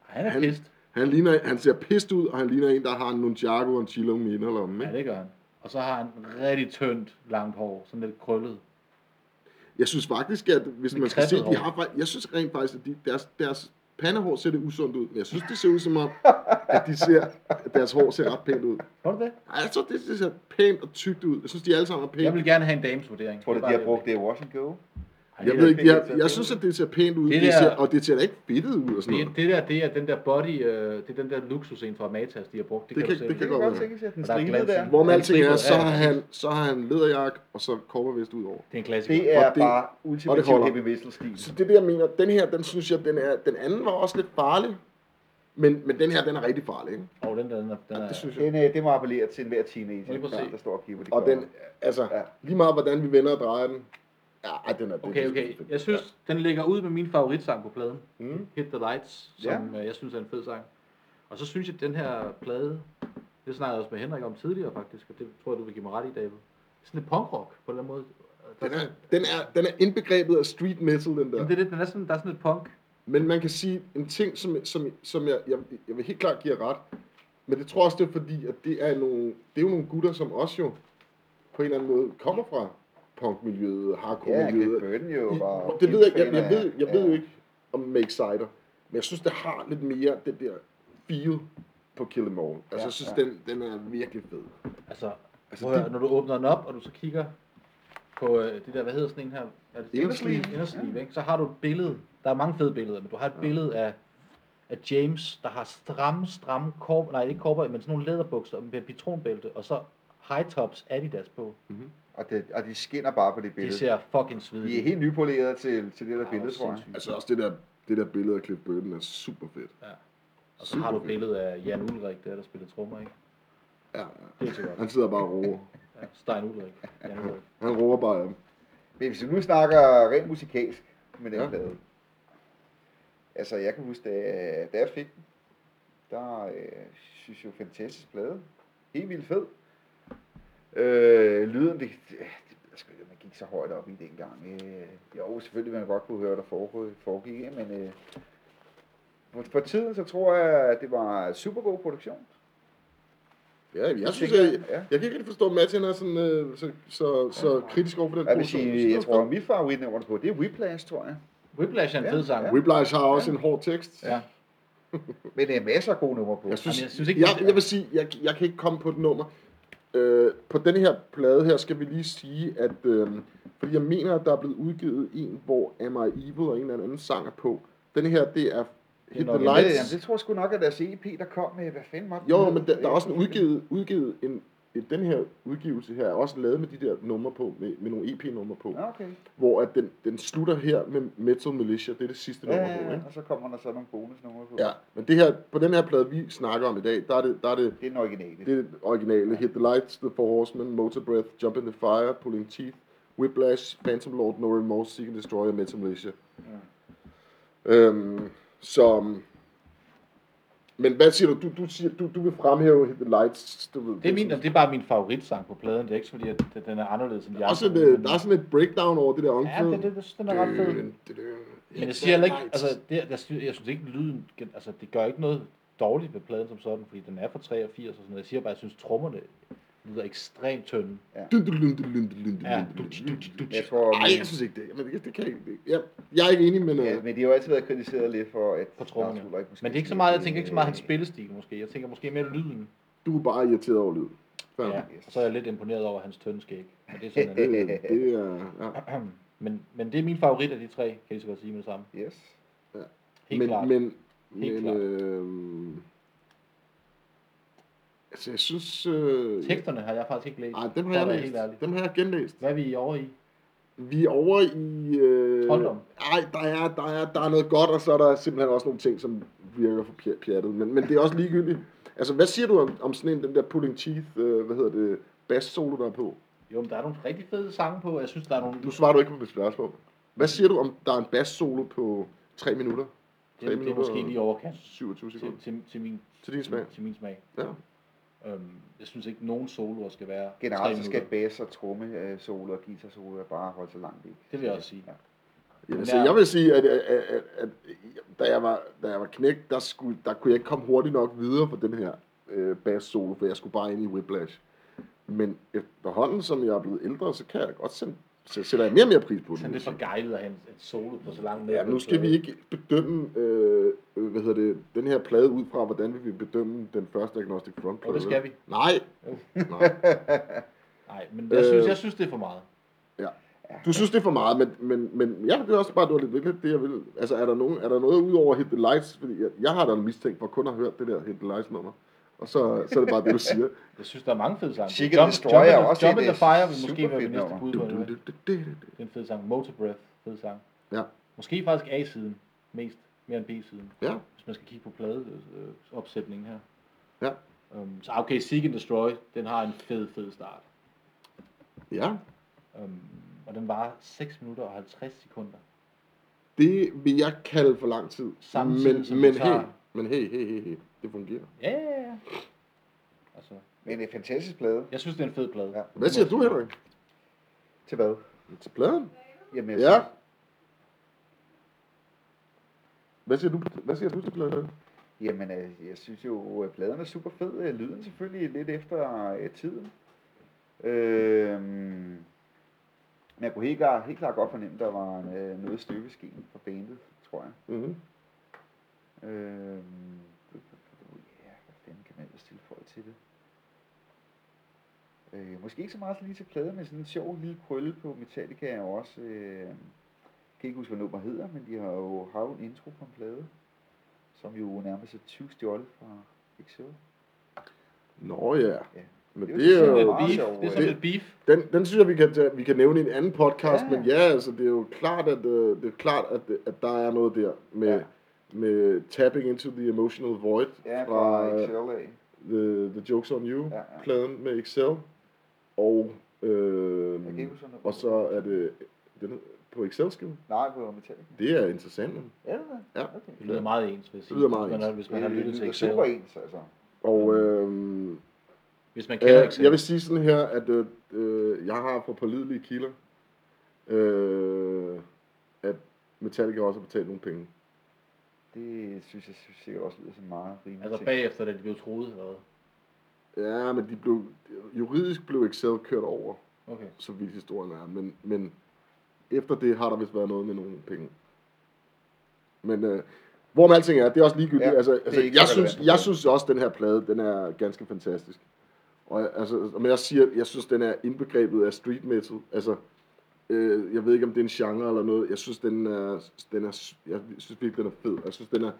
Han er Han- pist. Han, ligner, han ser pist ud, og han ligner en, der har en nunchaku og en chilo med inderlommen. Ja, ikke? det gør han. Og så har han rigtig tyndt, langt hår, sådan lidt krøllet. Jeg synes faktisk, at hvis Med man skal se, kridtet de hår. har, fakt- jeg synes rent faktisk, at de, deres, deres pandehår ser det usundt ud, men jeg synes, det ser ud som om, at de ser, at deres hår ser ret pænt ud. Tror du det? Ej, jeg tror, det, det ser pænt og tykt ud. Jeg synes, de alle sammen er pæne. Jeg vil gerne have en dames vurdering. Tror du, de har brugt det i Washington? Ej, Jeg det ved der- ikke, jeg, jeg synes, at det ser pænt ud, det Det der- ser, og det ser da ikke fedtet ud og sådan Det, noget. det der, det er den der body, øh, det er den der luksus en fra Matas, de har brugt. Det, Det kan, kan- du selv. det kan Det kan godt godt være. tænkes, at den Og der er stringede glansen. der. Hvor med Ja, alting er, det- så har han, så har han læderjakke, og så kobbervest ud over. Det er en klassiker. Det er Og det- bare og det ultimativ holder. heavy metal stil. Så det der, jeg mener, den her, den synes jeg, den er, den anden var også lidt farlig. Men, men den her, den er rigtig farlig, ikke? Og den der, den er, den Ja, er det synes jeg. Den, øh, det må appellere til enhver Lige teenager, præcis. der står og kigger på de Og kopper. den, altså, Ja. lige meget hvordan vi vender og drejer den, ja, ej, den er det. Okay, er- okay. Jeg synes, den ligger ud med min favoritsang på pladen. Mm. Hit the Lights, som øh, jeg synes er en fed sang. Og så synes jeg, at den her plade, det snakkede jeg også med Henrik om tidligere faktisk, og det tror jeg, du vil give mig ret i, David. Det er sådan lidt punkrock på en eller anden måde. Der, Den er, er, den, er, den er indbegrebet af street metal, den der. jamen, det er lidt, den er sådan, der er sådan lidt punk. Men man kan sige en ting, som, som, som jeg, jeg, jeg vil helt klart give jer ret. Men det tror jeg også, det er fordi, at det er, nogle, det er jo nogle gutter, som også jo på en eller anden måde kommer fra punkmiljøet, Ja, Cliff hardcore-miljøet. Burton jo var... I- det ved jeg, jeg, kæmpe jeg, fan af- ved, jeg ja. ved jo ikke om Make Cider, men jeg synes, det har lidt mere det der feel på Kill Em All. Altså, Ja, jeg synes, ja. den, den er virkelig fed. Altså, Altså, altså høre, når du åbner den op, og du så kigger på øh, det der, hvad hedder sådan en her? Er det Indersleeve. Indersleeve, ikke? Så har du et billede. Der er mange fede billeder, men du har et billede af, af James, der har stramme, stramme kor, nej ikke korper, men sådan nogle læderbukser med pitronbælte, og så high tops Adidas på. Og, det, og de skinner bare på det Det billede. ser fucking svedigt. De er helt nypolerede til, til det der Ja, billede, også tror jeg. sindssygt. Altså også det der, det der billede af Cliff Burton er super fedt. Ja. Og så har du et Superfedt. billede af Jan Ulrik, der, der spiller trommer, ikke? Ja, ja. Det er så godt. Han sidder bare og roer. Ja, Stein Ulrik. Jan Ulrik. Han roer bare af dem. Men hvis vi nu snakker rent musikalsk med den Ja. ja. plade. Altså, jeg kan huske, da, da jeg fik den, der øh, synes jeg, jo, fantastisk plade. Helt vildt fed. Øh, lyden, det, det, det sgu ikke, man gik så højt op i dengang. Øh, jo, selvfølgelig, man godt kunne høre, hvad der foregik, foregik ikke? men øh, for, for tiden, så tror jeg, at det var super god produktion. Ja, jeg synes, tænker jeg, jeg, ja. jeg kan ikke rigtig forstå, at Mads han er sådan, øh, så, så, så kritisk over for den Jeg vil sige, produktion. jeg tror, at mit favoritnummer på, det er Whiplash, tror jeg. Whiplash er en Ja, fed sang. ja. Whiplash har også en hård tekst. Ja. Men der er masser af gode numre på. Jeg synes, Jamen, jeg synes ikke, jeg, jeg vil sige, jeg, jeg kan ikke komme på et nummer. Øh, på den her plade her skal vi lige sige, at øh, fordi jeg mener, at der er blevet udgivet en, hvor Am I Evil og en eller anden sang er på. Den her, det er Hit nok the en- Jamen, det, Lights. jamen, det tror jeg sgu nok er deres EP, der kom med, hvad fanden var det? Jo, men der, der er også en udgivet, udgivet en, en, den her udgivelse her, er også lavet med de der numre på, med, med nogle EP-numre på, Nå, okay. hvor at den, den slutter her med Metal Militia, det er det sidste nummer på, Ja, ikke? og så kommer der så nogle bonusnumre på. Ja, men det her, på den her plade, vi snakker om i dag, der er det, der er det Det er den originale. Det er det originale. Hit the Lights, The Four Horsemen, Motor Breath, Jump in the Fire, Pulling Teeth, Whiplash, Phantom Lord, No Remorse, Seek and Destroy og Metal Militia. Øhm, så... Men hvad siger du? Du, du, siger, du, du vil fremhæve Hit the Lights. Du ved, Det er, min, det er bare min favoritsang på pladen. Det er ikke fordi, at den- den er anderledes end de Der er, andre. sådan, øh, der er sådan Øh, et breakdown over det der omkring. Ja, det, det, det, den er ret fed. Men jeg siger heller ikke, altså, det, jeg, synes, jeg synes ikke, lyden, gen- altså, det gør ikke noget dårligt ved pladen som sådan, fordi den er fra 83 og sådan noget. Jeg siger bare, at jeg synes, trommerne lyder ekstremt tynde. Ja. Jeg tror, Nej, jeg synes ikke det. Men det, det kan jeg ikke. Jeg, jeg er ikke enig øh, med noget. men, men de har jo altid været kritiseret lidt for, at På trommerne. Lars Ulrik måske Men det er ikke så meget, jeg øh, tænker ikke så meget hans spillestil måske. Jeg tænker måske mere lyden. Du er bare irriteret over lyden. Fair Ja, nok. og så er jeg lidt imponeret over hans tynde skæg. Men det er sådan, Det, en- Øh, det er, ja. men, men det er min favorit af de tre, kan jeg lige så godt sige med det samme. Yes. Helt men, klart. Men, Helt men klart. øh, altså, jeg synes... Øh, Teksterne har jeg faktisk ikke læst. Ej, dem for har at jeg være helt læst. ærlig. Dem har jeg genlæst. Hvad er vi over i? Vi er over i... Øh, Trolddom. Ej, der er, der, er, der er noget godt, og så er der simpelthen også nogle ting, som virker for pjat- pjattet. Men, men det er også ligegyldigt. Altså, hvad siger du om, om sådan en, den der Pulling Teeth, øh, hvad hedder det, bass-solo, der er på? Jo, men der er nogle rigtig fede sange på, og jeg synes, der er nogle... Nu svarer du ikke på mit spørgsmål. Hvad siger du om, der er en bass-solo på 3 minutter? 3 det, det er minutter måske lige overkant 27 sekunder. til, til, til, min, Til din smag. til min smag. Ja. Øhm, jeg synes ikke, nogen soloer skal være tre Generelt så skal minutter. bass og tromme øh, solo og guitar solo bare holde så langt væk. Det vil jeg også sige. Ja. Ja, Men altså, der- jeg vil sige, at, at, at, at da, jeg var, da jeg var knæk, der, skulle, der kunne jeg ikke komme hurtigt nok videre på den her øh, bass-solo, for jeg skulle bare ind i Whiplash. Men efterhånden, som jeg er blevet ældre, så kan jeg godt sende så sætter jeg mere og mere pris på Sådan den. lidt for gejlet at have en- et solo på så langt med. Ja, nu skal vi ikke bedømme øh, øh, hvad hedder det, den her plade ud fra, hvordan vil vi bedømme den første Agnostic Front plade. Og det skal vi. Nej. Jo. Nej. Nej, men jeg synes, Øh. jeg synes, det er for meget. Du synes, det er for meget, men, men, men ja, det er også bare, det var lidt vildt, det jeg vil. Altså, er der, nogen, er der noget ud over Hit the Lights? Fordi jeg, jeg har da mistænkt for kun at have hørt det der Hit the Lights nummer. Og så, så er det bare det, du siger. Jeg synes, der er mange fede sange. Chicken Destroyer er in, også Jump et, in the øh, Fire vil måske super være fedt min næste nummer. bud Du, på du, det. du, du, du, du. Det er en fed sang. Motor Breath, fed sang. Ja. Måske faktisk A-siden mest, mere end B-siden. Ja. Hvis man skal kigge på pladeopsætningen her. Ja. Um, så okay, Seek and Destroy, den har en fed, fed start. Ja, Um, og den varer 6 minutter og 50 sekunder. det vil jeg kalde for lang tid. Samtidig men, som men, du hey, tager- men hey, hey, hey, hey, det fungerer. Ja, ja, ja. Altså, Men en fantastisk plade. jeg synes, det er en fed plade. Ja. Hvad siger du, Henrik? Til hvad? Til pladen? Jamen, jeg Ja. synes- Hvad siger du, hvad siger du til pladen? Jamen, øh, jeg synes jo, at pladen er super fed. Øh, Lyden selvfølgelig lidt efter øh, tiden. Øh, men jeg kunne helt klart, helt klart godt fornemme, at der var en, øh, noget støbeskeen fra bandet, tror jeg. Mm-hmm. Øh, ja, hvad fanden kan man ellers tilføje til det? Øh, måske ikke så meget lige til plade, men sådan en sjov lille krølle på Metallica er jo også... Øh, kan ikke huske, hvad nummer hedder, men de har jo, har jo en intro på en plade, som jo nærmest er 20 stjålet fra Excel. Nå ja. Ja. Men Det er jo det er Det jo... er sådan lidt meget beef. sjovt, Det er øh. sådan lidt beef. Den, den synes jeg, vi kan, tage, vi kan nævne i en anden podcast, ja. Ja. men ja, altså, det er jo klart, at, øh, det er klart, at, øh, at der er noget der med, ja. Ja. med tapping into the emotional void Ja, fra fra øh, Excel af. the, the Jokes on Ja, ja. You-pladen ja, ja. med Excel, og, Jeg kan øh, ikke huske, hvad nummer- og så er det den, er på Excel-skiven. Nej, på Metallica. Det er interessant. men- Ja, det er det. Ja. Okay. Det lyder meget ens, vil jeg sige. Det lyder meget hvis ens. man, har- hvis man har det, lyttet til lyder Excel. super ens, altså. Og øh, Hvis man kender Øh, Excel. jeg vil sige sådan her, at øh, øh, jeg har på pålidelige kilder, øh, at Metallica også har betalt nogle penge. Det synes jeg synes sikkert også lyder som meget rimeligt. Altså ting. bagefter, da de blev troet eller hvad? Ja, men de blev, juridisk blev Excel kørt over, Okay. så vidt historien er. Men, men efter det har der vist været noget med nogle penge. Men øh, hvorom alting er, det er også ligegyldigt. Ja, Ja, altså, det er altså, ikke jeg, så synes, relevant. jeg synes også, at den her plade, den er ganske fantastisk. Og, jeg- altså, men jeg siger, jeg synes, den er indbegrebet af street metal. Altså, øh, jeg ved ikke, om det er en genre eller noget. Jeg synes, den er, den er, jeg synes virkelig, den er fed. Jeg synes, den er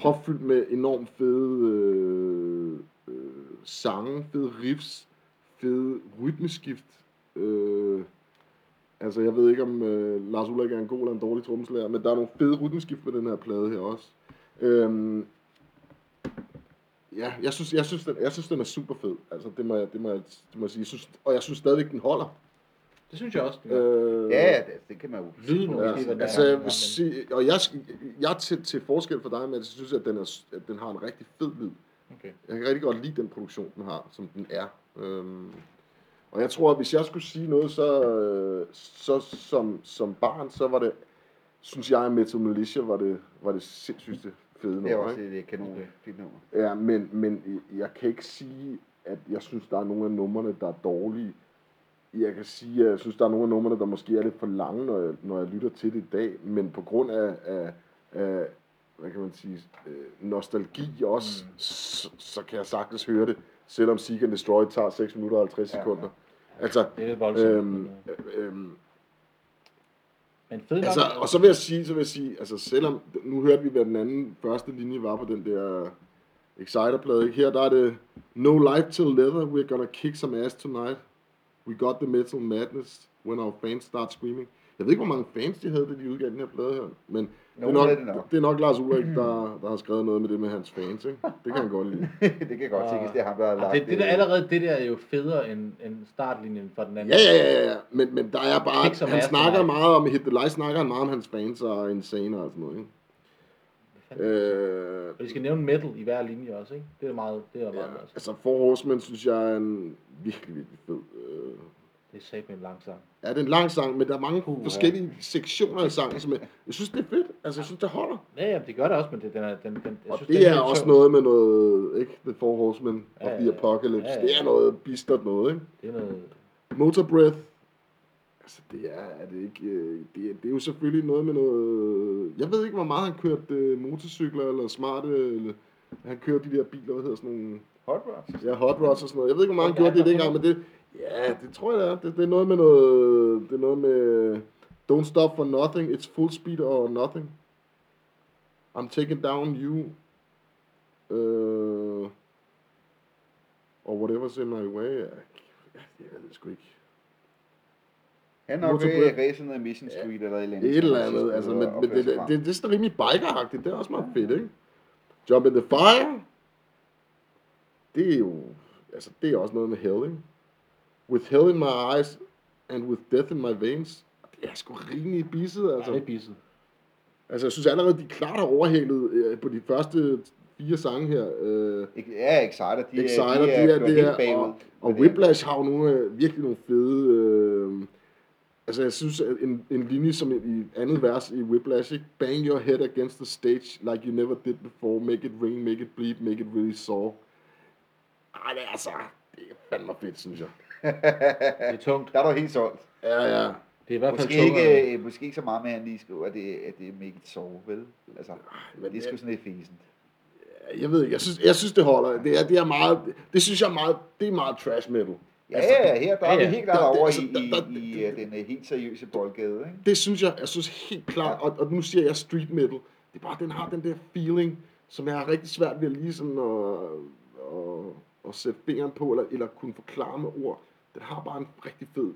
propfyldt med enormt fede øh, øh, sange, fede riffs, fede rytmeskift. Øh, altså, jeg ved ikke, om øh, Lars Ulrik er en god eller en dårlig trommeslager, men der er nogle fede rytmeskift med den her plade her også. Øhm, ja, jeg synes, jeg, synes, den, jeg synes, den er super fed. Altså, det må jeg, det må jeg, det må jeg sige. Jeg synes, og jeg synes stadigvæk, den holder. Det synes jeg også. den gør. Øh, Ja, det, det kan man jo... Lyden er måske, hvad den altså, er. jeg vil sige, og jeg, jeg til, til forskel for dig, men jeg synes, at den, er, at den har en rigtig fed lyd. Okay. Jeg kan rigtig godt lide den produktion, den har, som den er. Øhm, og jeg tror, at hvis jeg skulle sige noget, så, øh, så som, som barn, så var det, synes jeg, at Metal Militia var det, var det sindssygste fede Det nummer. er også Ikke? et øh, kanon Okay. fint nummer. Ja, men, men jeg kan ikke sige, at jeg synes, der er nogle af numrene, der er dårlige. Jeg kan sige, at jeg synes, der er nogle af numrene, der måske er lidt for lange, når jeg, når jeg lytter til det i dag. Men på grund af, af, af hvad kan man sige, øh, nostalgi også, mm. så, så kan jeg sagtens høre det, selvom Seek and Destroy tager 6 minutter og 50 Ja, ja. sekunder. Altså, Det er lidt voldsomt. øhm, men, øh, øhm, Men fed nok. altså, og så vil jeg sige, så vil jeg sige, altså selvom, nu hørte vi, hvad den anden første linje var på den der Exciter-plade, ikke? her der er det, No life till leather, we're gonna kick some ass tonight. We got the metal madness, when our fans start screaming. Jeg ved ikke, hvor mange fans de havde, da de udgav den her plade her, men det er, Nogle nok, Mm. havde det nok. det er nok Lars Ulrik, der, der har skrevet noget med det med hans fans, ikke? Det kan han godt lide. det kan godt Og- tænkes, det er ham, der har Ah, lagt det, det der øh, allerede, det der er jo federe end, end startlinjen for den anden. Ja, ja, ja, ja, men, men der er Ikke så bare, han meget for snakker mig. meget om, Hit the Light snakker han meget om hans fans og Insane og sådan noget, ikke? Øh, Og de skal nævne metal i hver linje også, ikke? Det er meget, det er ja, meget, ja. altså. altså Four Horsemen synes jeg er en virkelig, virkelig fed. Øh, Det er sat med en lang sang. ja, det er en lang sang, men der er mange Puha. forskellige sektioner i sangen, som jeg, jeg synes, det er fedt. Altså, jeg synes, det holder. Ja, ja, det gør det også, men det, den er, den, den, jeg Og synes, den det er helt også sjov. noget med noget, ikke? The Four Horsemen og Ja, The ja, ja. Apocalypse. Ja, ja. Det er noget bistert noget, ikke? Det er noget, Motor Breath Altså, det er, er det ikke... Øh, det, er, det er jo selvfølgelig noget med noget... Jeg ved ikke, hvor meget han kørte øh, motorcykler eller smarte... Eller, han kører de der biler, hvad hedder sådan nogle... Hot rods. Ja, hot rods og sådan noget. Jeg ved ikke, hvor meget han gjorde det Okay. dengang, men det... Ja, det tror jeg, det er. Det, det er noget med noget... Det er noget med... Don't stop for nothing. It's full speed or nothing. I'm taking down you. Uh, or whatever's in my way. Jeg, jeg ved det sgu ikke. Han er nok ved Motorblad. at ræse ned ad Mission Street eller et eller andet. Et eller andet, altså, men, men det, det, det, det er sådan rimelig bikeragtigt, det er også meget fedt, ikke? Jump in the fire, det er jo, altså, det er også noget med hell, ikke? With hell in my eyes, and with death in my veins, det er sgu rimelig bisset, Altså, altså. det er bisset. Altså, jeg synes allerede, de klart har overhalet øh, på de første fire sange her. Øh, Ikke- Ja, Exciter, de, Exciter, de, er, de er, de er bagud. og, og Whiplash har jo nogle, øh, virkelig nogle fede... Øh, altså, jeg synes, at en, en linje som i andet vers i Whiplash, ikke? Bang your head against the stage like you never did before. Make it ring, make it bleed, make it really sore. Ej, det er altså... Det er fandme fedt, synes jeg. Det er tungt. Der er du helt solgt. Ja, ja. Det er i hvert fald Måske tungere. ikke, øh, måske ikke så meget med, at han lige skriver, at det, at det er mega sove, vel? Altså, men det er sgu det- sådan lidt fæsent. Jeg ved ikke, jeg synes, jeg synes det holder. Det er, det er meget... Det synes jeg er meget... Det er meget trash metal. Ja, ja, her der er ja, vi ja. helt klart Der- der- over altså, i, der- der- i, i øh, den øh, helt seriøse boldgade, ikke? det synes jeg, jeg synes helt klart, og, og nu siger jeg street metal, det er bare, den har den der feeling, som jeg har rigtig svært ved lige sådan at, at, at sætte fingeren på, eller, eller kunne forklare med ord. Den har bare en rigtig fed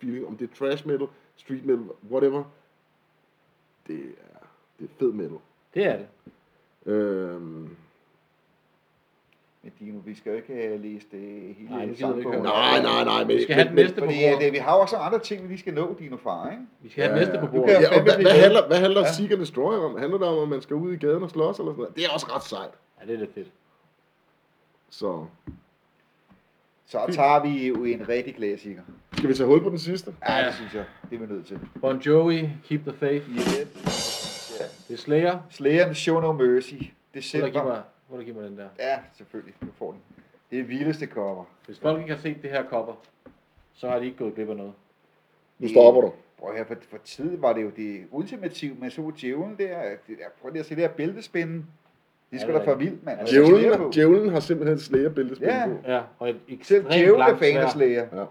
feeling, om det er trash metal, street metal, whatever. Det er, det er fed metal. Det er det. Øhm, Men Dino, vi skal jo ikke øh, læse det hele Nej, nu gider vi ikke sangbogen høre. nej, nej, nej, men... Vi skal have den men- næste på Fordi øh, bordet. det, vi har jo også andre ting, vi lige skal nå, Dino far, ikke? Vi skal have den Ja, næste ja. på Du bordet. kan- Ja, og hvad, fandme hvad blive handler, hvad handler Seek and Destroy om? Handler det om, at man skal ud i gaden og slås eller sådan noget? Det er også ret sejt. Ja, det er lidt fedt. Så Så tager vi jo en rigtig klassiker. skal vi tage hul på den sidste? Ja, Ja. det synes jeg, det er vi nødt til. Bon Jovi, Keep the Faith. Yes. Det er Slayer. Slayer med Show No Mercy. Må du give mig, December. må du give mig den der. Ja, selvfølgelig. Du får den. Det er vildeste cover. Hvis folk ikke har set det her cover, så har de ikke gået glip af noget. Nu stopper du. Prøv her, for, for tid var det jo det ultimative med så djævlen der. Det der. Prøv lige at se det her bæltespænde. Det skulle Ja, da det er for vildt, mand. Ja, Og så slæger Altså, på. Djævlen, djævlen har simpelthen slægerbæltespil Ja. ja. på. Ja, og et Selv ekstremt djævlen er langt fan af sværd. Slayer. Ja.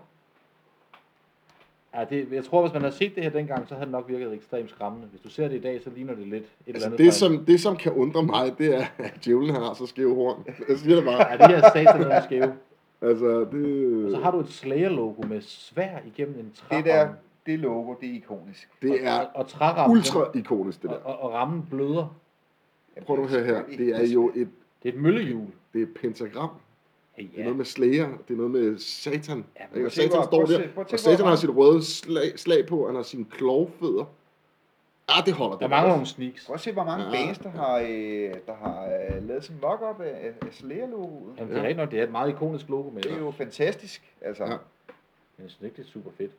Ja, det, jeg tror, hvis man havde set det her dengang, så havde det nok virket ekstremt skræmmende. Hvis du ser det i dag, så ligner det lidt et eller Altså andet. det fra- som, det, som kan undre mig, det er, at djævlen har så skæve horn. Jeg siger det Ja, bare. det her satan er skæve. Altså, det, Og så har du et Slayer-logo med svær igennem en træramme. Det der, det logo, det er ikonisk. det og, er og, og trærammen, ultra ikonisk, det og, der. og, og, rammen bløder. Prøv nu her, her. Det er jo et, Det er et møllehjul. det er et pentagram. Ja, Det er noget med slæger. Det er noget med satan. Ja, Ikke? prøv Og at tænke, satan hvor- prøv står at se- der. prøv at Og tænke, hvor satan har mange- sit røde slag, slag på. og Han har sine klovfødder. Ja, det holder. der det. mangler nogle sneaks. Prøv at se, hvor mange Ja. ja. bands, der har, øh, der har øh, lavet sådan en mock-up af, af- af Slayer-logoet. Jamen, det er rigtigt nok, det er et meget ikonisk logo, men Det er jo fantastisk. Altså, Ja. ja. men jeg synes ikke, det er super fedt,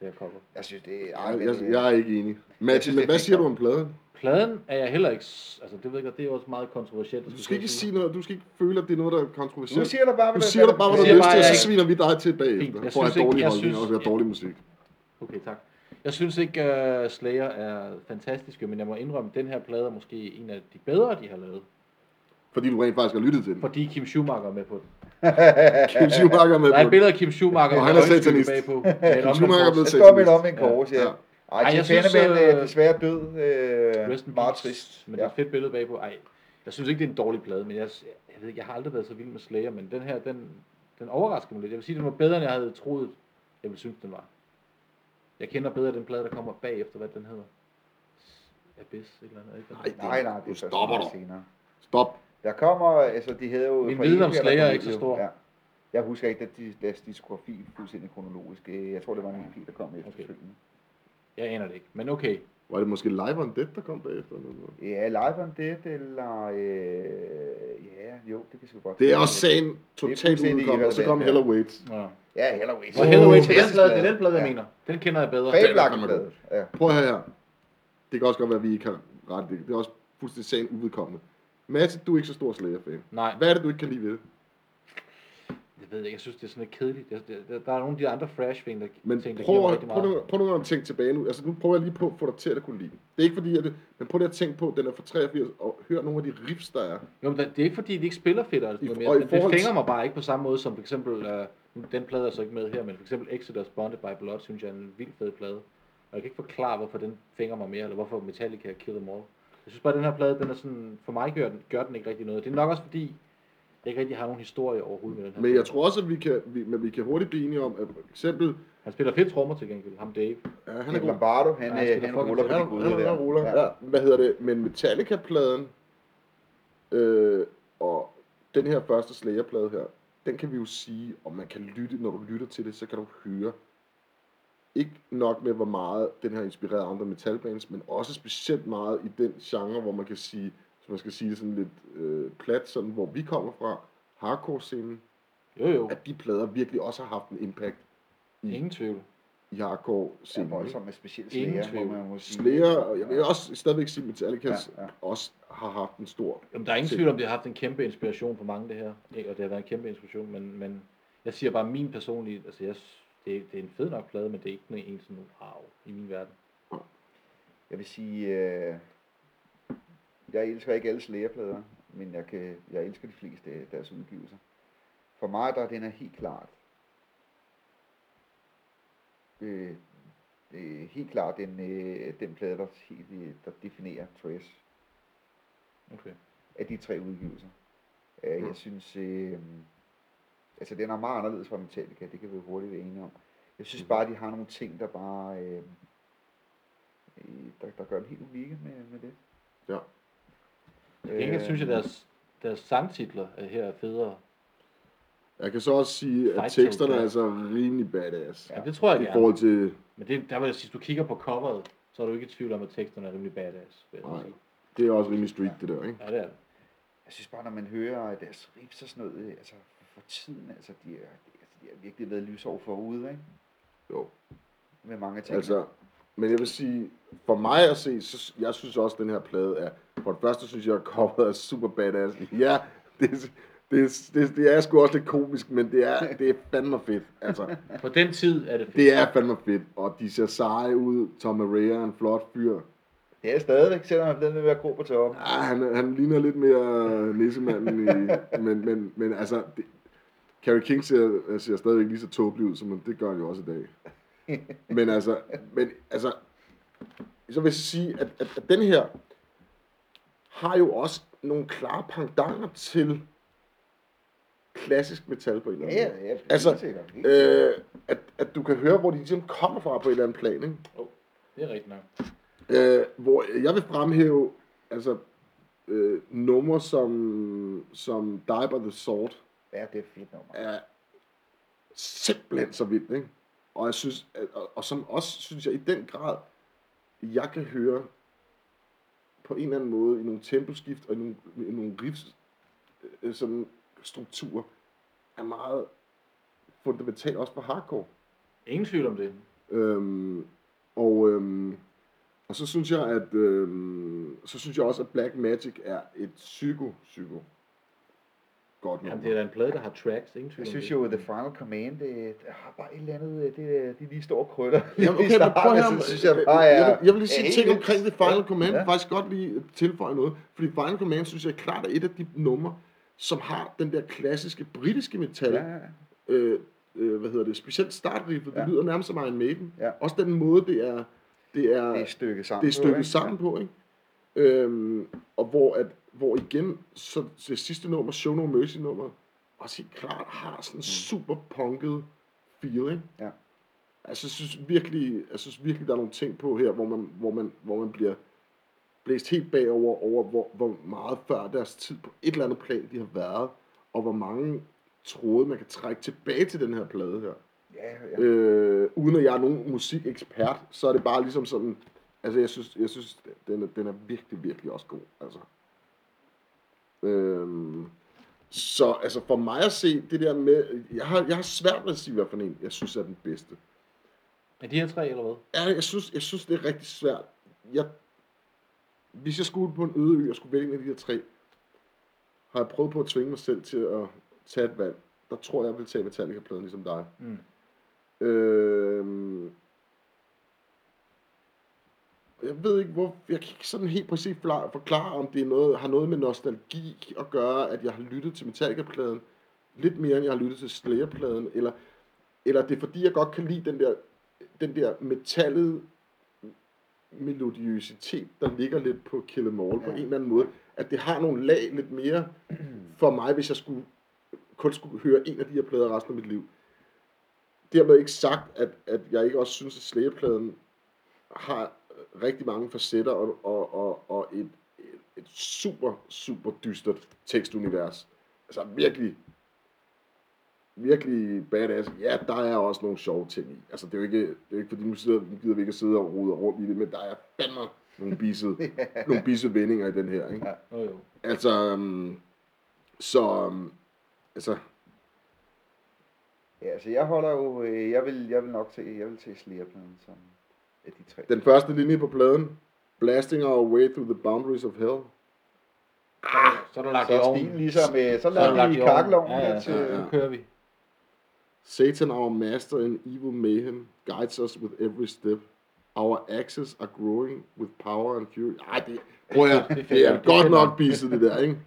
det her cover. jeg synes, det er... Ej, Ej, men, Jeg, øh, jeg er ikke enig. Jeg Mads, synes, men det er hvad fint siger du nok. om pladen? Pladen er jeg heller ikke... s- Altså, det ved jeg godt, det er også meget kontroversielt. at Du skal skulle ikke til at sige noget. Du skal ikke føle, at det er noget, der er Nu kontroversielt. siger du bare, hvad Du siger der bare, hvad du siger har lyst bare, til, og jeg så ikke- sviner vi dig til bagefter. Fint. Jeg For at synes ikke- dårlige jeg holdninger og synes- høre dårlig musik. Okay, tak. Jeg synes ikke, uh, Slayer er fantastiske, men jeg må indrømme, at den her plade er måske en af de bedre, de har lavet. Fordi du rent faktisk har lyttet til den. Fordi Kim Schumacher er med på den. Kim Schumacher er med Der er på et den. billede af Kim Schumacher, Og han er øjenskygge satanist. bagpå. med et Kim Schumacher er omvendt blevet Jeg står midt satanist. om en kors, ja. Ja. Ej, Ej, Ej jeg jeg synes, synes, øh, øh, er desværre død. Øh, Rest in meget peace, trist. Men det ja. er et fedt billede bagpå. Ej, jeg synes ikke, det er en dårlig plade, men jeg, jeg, ved, ikke, jeg har aldrig været så vild med Slayer, men den her, den, den overrasker mig lidt. Jeg vil sige, den var bedre, end jeg havde troet, jeg ville synes, den var. Jeg kender bedre den plade, der kommer bagefter, hvad den hedder. Abyss, et eller andet. Ikke? Nej. Nej, nej, det Nu er først stopper meget du. senere. Stop. Der kommer, altså de havde jo... Min fra viden om Evia, der Slayer er kom ikke ud, så jo. stor. Ja. Jeg husker ikke, at de, deres diskografi fuldstændig kronologisk. Øh, Jeg tror, det var en EP, der kom efterfølgende. Jeg aner det ikke, men okay. Var det måske Live on Dead, der kom bagefter? eller noget? Ja, Live on Dead, eller... Øh, ja, jo, det kan sgu godt Det er være. også sagen totalt fuldstændig udenkom, og så kom irrelevant, Hella ja. Waits. Ja. Ja, Helloween. Og Hathaway, det er den Fantastisk plade, det er den plade, jeg Ja. mener. Den kender jeg bedre. Fabler. Fabelagtig plade, Ja. Prøv at høre her. Det kan også godt være, at vi ikke har ret. Det Det er også fuldstændig sagen uvedkommende. Mads, du er ikke så stor slager fan. Nej, Hvad er det, du ikke kan lide ved det? det ved jeg ikke, jeg synes, det er sådan lidt kedeligt. Der, der, der er nogle af de andre fresh ting, der, Men ting, der prøv, giver mig at, rigtig prøv, meget. nu, prøv nu at tænke tilbage nu. Altså, nu prøver jeg lige på at få dig til at kunne lide den. Det er ikke fordi, at det, men prøv lige at tænke på, at den er fra 83, og hør nogle af de riffs, der er. Jo, men det er ikke fordi, de ikke spiller fedt eller I- noget og i mere. men Det forhold til- fænger mig bare ikke på samme måde som for eksempel, øh, nu- den plade er så ikke med her, men for eksempel Exodus Bonded by Blood, synes jeg er en vildt fed plade. Og jeg kan ikke forklare, hvorfor den fænger mig mere, eller hvorfor Metallica Kill Them All. Jeg synes bare, at den her plade, den er sådan, for mig gør den, gør den ikke rigtig noget. Det er nok også fordi, jeg ikke rigtig har nogen historie overhovedet med den her. Men jeg plade. tror også, at vi kan, vi, men vi kan hurtigt blive enige om, at for eksempel, Han spiller fedt trommer til gengæld, ham Dave. ja, han er Men god. Lombardo, han, Ja, øh, han spiller han fucking- ruller på han, de guder han, der. han ruller. Ja. Ja. ja. Hvad hedder det? Men Metallica-pladen øh, og den her første Slayer-plade her, den kan vi jo sige, og man kan lytte, når du lytter til det, så kan du høre, ikke nok med, hvor meget den har inspireret andre metalbands, men også specielt meget i den genre, hvor man kan sige, hvis man skal sige det sådan lidt øh, plat, sådan hvor vi kommer fra, hardcore-scenen, Jo jo, at de plader virkelig også har haft en impact ingen tvivl. i Ja, hardcore-scenen. ikke? voldsomt med specielt Ingen Slayer, må tvivl. man må sige. Slayer, og jeg vil også stadigvæk sige, at Metallica ja, Ja, ja. ja. også har haft en stor... Jamen, der er ingen Se. tvivl om, det har haft en kæmpe inspiration for mange, det her. Ikke? Og det har været en kæmpe inspiration, men, men jeg siger bare min personlige... Altså, jeg, s- det, er- det er en fed nok plade, men det er ikke sådan en sådan wow i min verden. Jeg vil sige, øh, jeg elsker ikke alle slægerplader, men jeg, kan, jeg elsker de fleste af deres udgivelser. For mig der er den her helt klart, øh, øh, helt klart den, øh, den plade, der, helt, øh, der definerer Trash Okay. af de tre udgivelser. Øh, Mm. jeg synes, øh, altså den er meget anderledes fra Metallica, det kan vi hurtigt være enige om. Jeg synes bare, de har nogle ting, der bare, øh, øh, der, der gør den helt unikke med, med det. Ja. Øh, ikke, synes jeg, deres, deres sangtitler er her er federe. Jeg kan så også sige, at Fight teksterne Club. er altså rimelig badass. Ja. Ja. Jamen, det tror jeg I gerne. forhold til... Men det, der vil jeg sige, hvis du kigger på coveret, så er du ikke i tvivl om, at teksterne er rimelig badass. Vil jeg Nej. sige. Det er også rimelig street, det der, ikke? Ja, det er det. Jeg synes bare, når man hører deres riffs og sådan noget, øh, altså for tiden, altså de er, altså, de har virkelig været lys over forude, ikke? Jo. Med mange ting. Altså, men jeg vil sige, for mig at se, så, jeg synes også, at den her plade er... For det første synes jeg, at coveret er super badass. Ja, det, er- det, er- det, er- det er sgu også lidt komisk, men det er, det er fandme fedt. Altså, På den tid er det fedt. det er fandme fedt. Og de ser seje ud. Tom Araya er en flot fyr. det er stadigvæk, selvom den vil være god på toppen. Ah, han, han ligner lidt mere nissemanden, i, men, men, men altså, det, Carrie King ser, ser stadigvæk lige så tåbelig ud, som det gør han jo også i dag. Men altså, men, altså så vil jeg sige, at, at, at den her har jo også nogle klare pendanter til klassisk metal på en eller anden måde. ja, Altså, helt sikkert, helt sikkert. Øh, at, at du kan høre, hvor de ligesom kommer fra på en eller anden plan, ikke? Det er rigtigt nok. Øh, hvor jeg vil fremhæve altså, øh, numre som, som Die by the Sword ja, det er et fedt nummer. er simpelthen så vildt, ikke? Og, jeg synes, at- og, og som også, synes jeg, i den grad, jeg kan høre på en eller anden måde i nogle temposkift og i nogle, i nogle riffs, øh, sådan strukturer, er meget fundamentalt også for hardcore. Ingen tvivl om det. Øhm, og, øhm, og så synes jeg, at øhm, så synes jeg også, at Black Magic er et psyko, psyko. Godt Jamen, nummer. det er da en plade, der har tracks. Ingen tvivl Jeg om synes det. jo, at The Final Command, det, det har bare et eller andet, øh, det, øh, de lige står og krydder. Jamen, okay, men prøv at høre, Altså, så synes jeg bare, jeg, ja, vil, jeg vil lige sige ja, ting helt omkring det vildt. Final Ja, Command, ja. faktisk godt lige tilføje noget, fordi Final Command synes jeg klart er et af de numre, som har den der klassiske britiske metal, Ja, ja, ja. øh, øh, hvad hedder det, specielt startriffet, det Ja. lyder nærmest som Iron Maiden, Ja. også den måde, det er, det er, det er stykket sammen. det er nu, stykket ikke? sammen på, ikke? Øhm, og hvor, at, hvor igen, så det sidste nummer, Show No Mercy nummer, også helt klart har sådan en super punket feeling. Mm. Ja. Altså, jeg synes virkelig, jeg synes virkelig, der er nogle ting på her, hvor man, hvor man, hvor man bliver blæst helt bagover, over hvor, hvor meget før deres tid på et eller andet plan, de har været, og hvor mange tråde, man kan trække tilbage til den her plade her. Ja, ja. ja. Øh, uden at jeg er nogen musikekspert, så er det bare ligesom sådan, altså jeg synes, jeg synes den, er, den er virkelig, virkelig også god, altså. Øhm, så altså for mig at se det der med, jeg har, jeg har svært ved at sige, hvad for en jeg synes er den bedste. Er de her tre, eller hvad? Ja, jeg synes, jeg synes det er rigtig svært. Jeg, hvis jeg skulle ud på en øde ø, og skulle vælge en af de her tre, har jeg prøvet på at tvinge mig selv til at tage et valg. der tror jeg, jeg vil tage Metallica-pladen ligesom dig. Mm. Øh, jeg ved ikke, hvor, jeg kan ikke sådan helt præcis fla- forklare, om det er noget, har noget med nostalgi at gøre, at jeg har lyttet til Metallica-pladen lidt mere, end jeg har lyttet til Slayer-pladen, eller, eller det er fordi, jeg godt kan lide den der, den der metallede melodiøsitet, der ligger lidt på Kill 'Em All på en Ja. eller anden måde, at det har nogle lag lidt mere for mig, hvis jeg skulle, kun skulle høre en af de her plader resten af mit liv. Dermed ikke sagt, at, at jeg ikke også synes, at Slayer-pladen har rigtig mange facetter og, og, og, og et, et, et super, super dystert tekstunivers. Altså virkelig, virkelig badass. Ja, der er også nogle sjove ting i. Altså det er jo ikke, det er jo ikke fordi nu, sidder, nu gider vi ikke at sidde og rode rundt i det, men der er fandme nogle bissede, nogle bissede vendinger i den her. Ikke? Nå jo. Altså, øhm, så, øhm, altså, Ja, så jeg holder jo, øh, jeg vil, jeg vil nok til, jeg vil til Slayer-pladen som af de tre. den første linje på pladen, Blasting our way through the boundaries of hell. Så er der lagt i så er ovnen. stilen ligesom, øh, så Så er der lader lagt vi i ovnen. kakkelovnen Ja, ja, til, ja, ja. Nu kører vi. Satan, our master in evil mayhem, guides us with every step. Our axes are growing with power and fury. Ej, det, prøv at, høre, det er fedt. godt nok pisset, det der, ikke?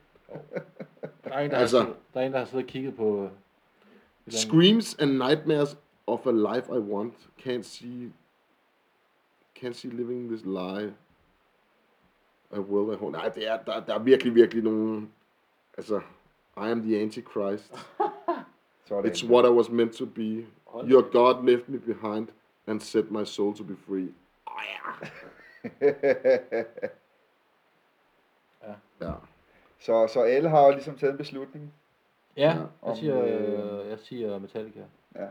Der er en, der, Altså- altså, har, siddet- der, er en, der har siddet og kigget på... øh, et eller andet- Screams and nightmares of a life I want. Can't see, can't see living this lie. I will, I hope. Nej, det er, der, der er virkelig, virkelig nogen... Altså, I am the antichrist. sådan. It's what I was meant to be. Your God left me behind and set my soul to be free. Oh, ja. Ja. så, så alle har jo ligesom taget en beslutning. Ja, Ja, jeg om, siger, øh, øh, jeg siger Metallica. Ja.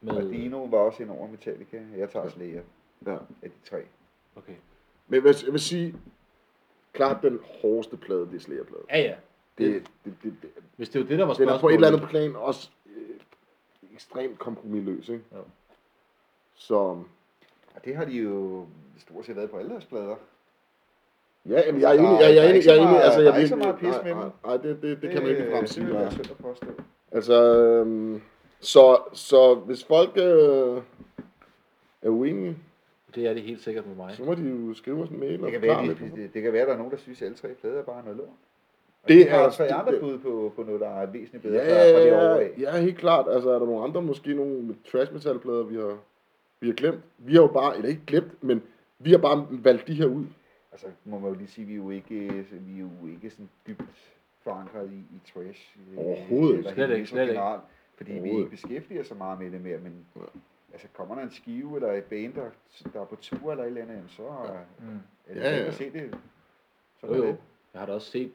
Med, Og Dino var også ind over Metallica. Jeg tager Slayer ja. af de tre. Okay. Men jeg vil, jeg vil sige, klart den hårdeste plade, det er Slayer-pladen. Ja, ja. Det, det, det, det, Hvis det var det, der var den spørgsmålet. er på et eller andet plan også øh, ekstremt kompromilløs, ikke? Jo. Så Og det har de jo stort set været på alle deres plader. ja, jamen, jeg er Der er- enig, jeg, jeg der er er enig, ikke så jeg er enig, meget- altså der jeg er ikke så meget pis nej, med nej, den. Øh, nej, det, det, det kan man ikke ligefrem sige. Det vil nej. jeg synd at påstå. Altså, øhm, så, så hvis folk øh, er uenige, Det er det helt sikkert med mig. så må de jo skrive os en mail og Det kan, være, forklare de, lidt. de- det, det kan være, der er nogen, der synes, at alle tre plader er bare noget lort. Og Det de har er- tre det- andre det- bud på, på noget, der er væsentligt bedre fra, fra det år Ja, af. ja, ja, helt klart. Altså, er der nogle andre, måske nogle trash metalplader, vi har, vi har glemt? Vi har jo bare, eller ikke glemt, men vi har bare valgt de her ud. Altså, må man jo lige sige, at vi er jo ikke, vi er jo ikke sådan dybt forankret i, i trash. øh, Overhovedet eller ikke. Slet ikke, hedonisme slet ikke. generelt, Fordi vi Overhovedet ikke beskæftiger så meget med det mere, men Ja. altså, kommer der en skive eller et band, der, der er på tur eller et eller andet, jamen, så Mm. er det Ja, ja, ja. at se det. Så Jo, er jo. det. Jeg har da også set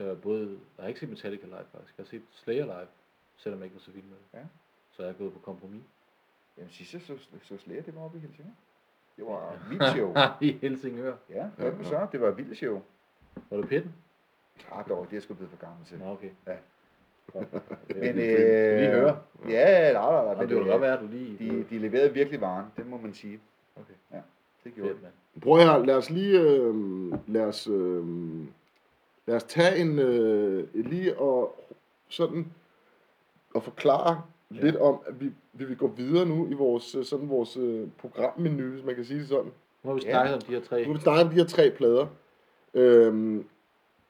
øh, både... Jeg har ikke set Metallica live, faktisk. Jeg har set Slayer live, selvom jeg ikke var så vild med det. Ja. Så jeg er gået på kompromis. Jamen sidst jeg så, så slæger det var oppe i Helsingør. Det var vildt show. I Helsingør. Ja, hvad med så? Det var vildt show. Var det pitten? Ah, dog, det er sgu blevet for gammel til. Nå, okay. Men, vi øh, lige høre. Ja, nej, nej, nej. Nå, men det kunne da øh, godt være, at du lige... De, de leverede virkelig varen, det må man sige. Okay. Ja, det gjorde Fedt, de. mand. Prøv her, lad os lige, øh, lad os, øh, lad os tage en, øh, lige og sådan, og forklare ja. Ja. lidt om, at vi, vi vil gå videre nu i vores, øh, sådan vores øh, programmenu, hvis man kan sige det sådan. Nu har vi Ja. snakket om de her tre. Nu vil vi snakke om de her tre plader. Øhm,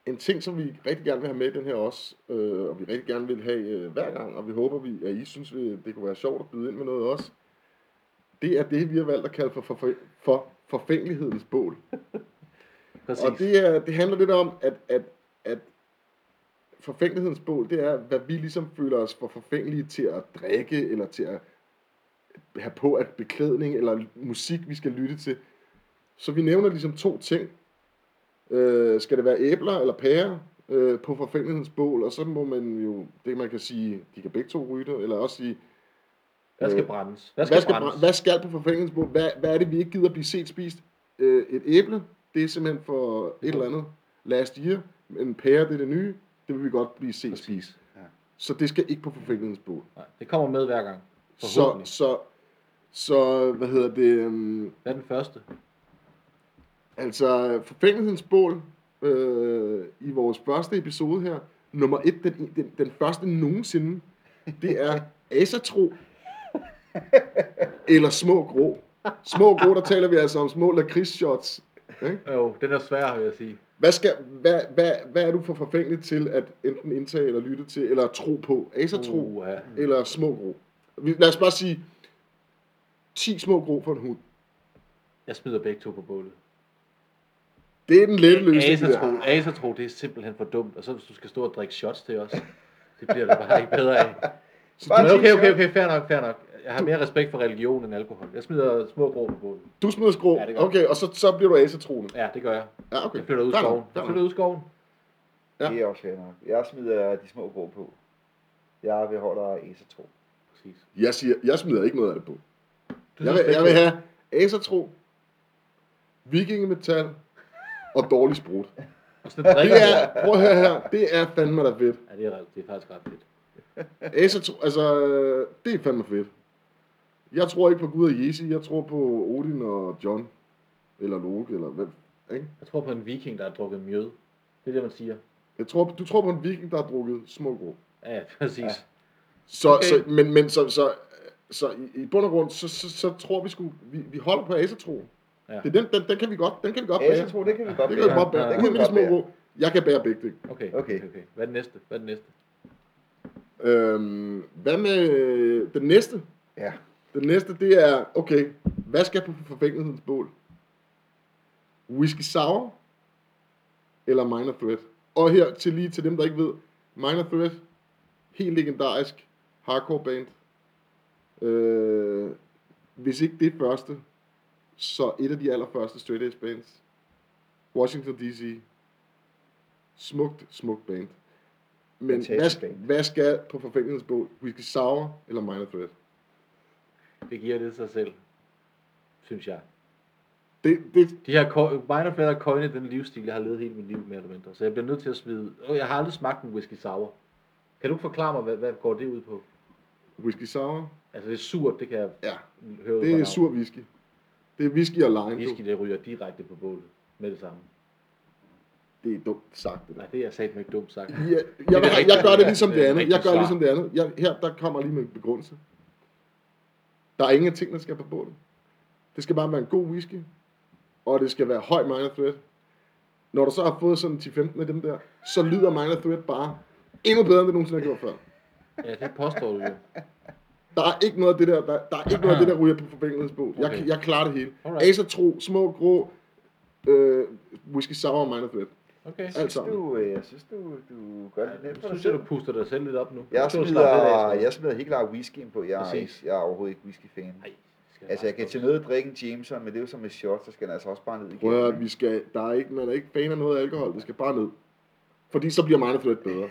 en ting, som vi rigtig gerne vil have med i den her også, øh, og vi rigtig gerne vil have øh, hver gang, og vi håber, vi, at I synes, vi, det kunne være sjovt at byde ind med noget også, det er det, vi har valgt at kalde for, for, for forfængelighedens bål. Præcis. Og det, er, det handler lidt om, at, at, at forfængelighedens bål, det er, hvad vi ligesom føler os for forfængelige til at drikke, eller til at have på at beklædning, eller musik, vi skal lytte til. Så vi nævner ligesom to ting. Øh, skal det være æbler eller pærer øh, på forfængelighedens bål, og så må man jo, det man kan sige, de kan begge to ryge det, eller også sige, Hvad skal øh, brændes? Hvad skal, hvad skal, brændes? bra- hvad skal på forfængelsesbord? Hvad, hvad er det, vi ikke gider blive set spist? Øh, et æble, det er simpelthen for et eller andet last year. En pære, det er det nye. Det vil vi godt blive set spist. Præcis. Så det skal ikke på forfængelsesbord. Nej, det kommer med hver gang. Så, Forhåbentlig. Så... så, så, hvad hedder det? øhm, Hvad er den første? Altså, forfængelsens bål øh, i vores første episode her, nummer et, den, den, den første nogensinde, det er Asatro eller Små Grå. Små Grå, der taler vi altså om små lakridsshots. Ikke? Jo, den er svær, vil jeg sige. Hvad, skal, hvad, hvad, hvad er du for forfængelig til at enten indtage eller lytte til, eller tro på? Asatro uh. Uha. eller Små Grå? Vi- Lad os bare sige, 10 Små Grå for en hund. Jeg smider begge to på bålet. Det er den lette løsning. det der. Asatro, Asatro, det er simpelthen for dumt. Og så hvis du skal stå og drikke shots til os, det bliver der bare ikke bedre af. Bare Men ti okay, okay, shots. okay, fair nok, fair nok. Jeg har mere respekt for religion end alkohol. Jeg smider små grå på bålet. Du smider skrå, Ja, det gør jeg. okay, og så, så bliver du asatroende. Ja, det gør jeg. Ja, okay. Jeg flytter ud i Fair nok, skoven. Jeg fair flytter nok. ud i skoven. Ja. Det er også fair nok. Jeg smider de små grå på. Jeg beholder Esatro. Præcis. Jeg, siger, jeg smider ikke noget af det på. Du Jeg smider vil, jeg begge vil to. have asatro, vikingemetal og dårlig sprut. Og sådan drikker Det jeg. er, prøv at høre her, det er fandme da fedt. Ja, det er, ret- det er faktisk ret fedt. Asatro, altså, øh, det er fandme fedt. Jeg tror ikke på Gud og Jesi, jeg tror på Odin og John. Eller Loke, eller hvem. Ikke? Jeg tror på en viking, der har drukket mjød. Det er det, man siger. Jeg tror, du tror på en viking, der har drukket små grå. Ja, ja, præcis. Ja. Så, Okay. okay. så, men, men så, så, så i, i bund og grund, så, så, så tror vi sgu, vi, vi holder på asatroen. Ja. Ja. Det er den, den, den kan vi godt, den kan vi godt bære. Esatro, det kan vi godt Det kan vi Ja, godt bære. ja, Ja, ja. Ud med de små ro. Jeg kan bære begge dele. Okay, Okay. okay, okay. Hvad er det næste? Hvad er det næste? Øhm, hvad med øh, den næste? Ja. Den næste, det er, okay, hvad skal på forfængelighedens bål? Whisky sour eller minor threat? Og her til lige til dem, der ikke ved, minor threat, helt legendarisk hardcore band. Øh, hvis ikke det første, så et af de allerførste straight edge bands. Washington D.C. Smukt, smukt band. Men Fantastisk hvad, band. hvad skal på forfængelighedens bål? Whisky sour eller minor threat? Det giver det sig selv, synes jeg. Det, det, De her ko- minor flat har coined den livsstil, jeg har levet hele mit liv, mere eller mindre. Så jeg bliver nødt til at smide... Oh, jeg har aldrig smagt en whisky sour. Kan du forklare mig, hvad, hvad går det ud på? Whisky sour? Altså, det er surt, det kan jeg Ja, høre ud fra det er navnet. sur whisky. Det er whisky og lime. Whisky, Whisky. der ryger direkte på bålet med det samme. Det er dumt sagt, det der. Nej, det er satme ikke dumt sagt. Ja, jeg, jeg, rigtigt, jeg gør det det er- ligesom det det er andet. Jeg rigtigt gør svar. det ligesom det andet. Jeg, her, der kommer lige med en begrundelse. Der er ingen af tingene, der skal på bålet. Det skal bare være en god whisky, og det skal være høj minor threat. Når du så har fået sådan 10-15 af dem der, så lyder minor threat bare endnu bedre, end det nogensinde har gjort før. Ja, det påstår du jo. Der er ikke noget af det der, der, der, er ikke noget af det der ryger på forbindelsesbål. Okay. Jeg, Okay. kan- jeg klarer det hele. Alright. Alright. Asatro, små, grå, øh, whisky sour og minor threat. Okay. Alt Synes sammen. du, øh, jeg synes, du, du gør det Jeg nemt for dig synes, at selv. du puster dig selv lidt op nu. Jeg Du skal slappe lidt af, smider, tror jeg smider helt klart whiskyen på. Jeg er, Præcis. ikke, jeg er overhovedet ikke whisky-fan. Nej, skal Altså, jeg kan til nød drikke en Jameson, men det er jo som et shot, så skal den altså også bare ned igen. Prøv at høre, vi skal, der er ikke, man er ikke fan af noget alkohol, det skal bare ned. Fordi så bliver minor threat bedre.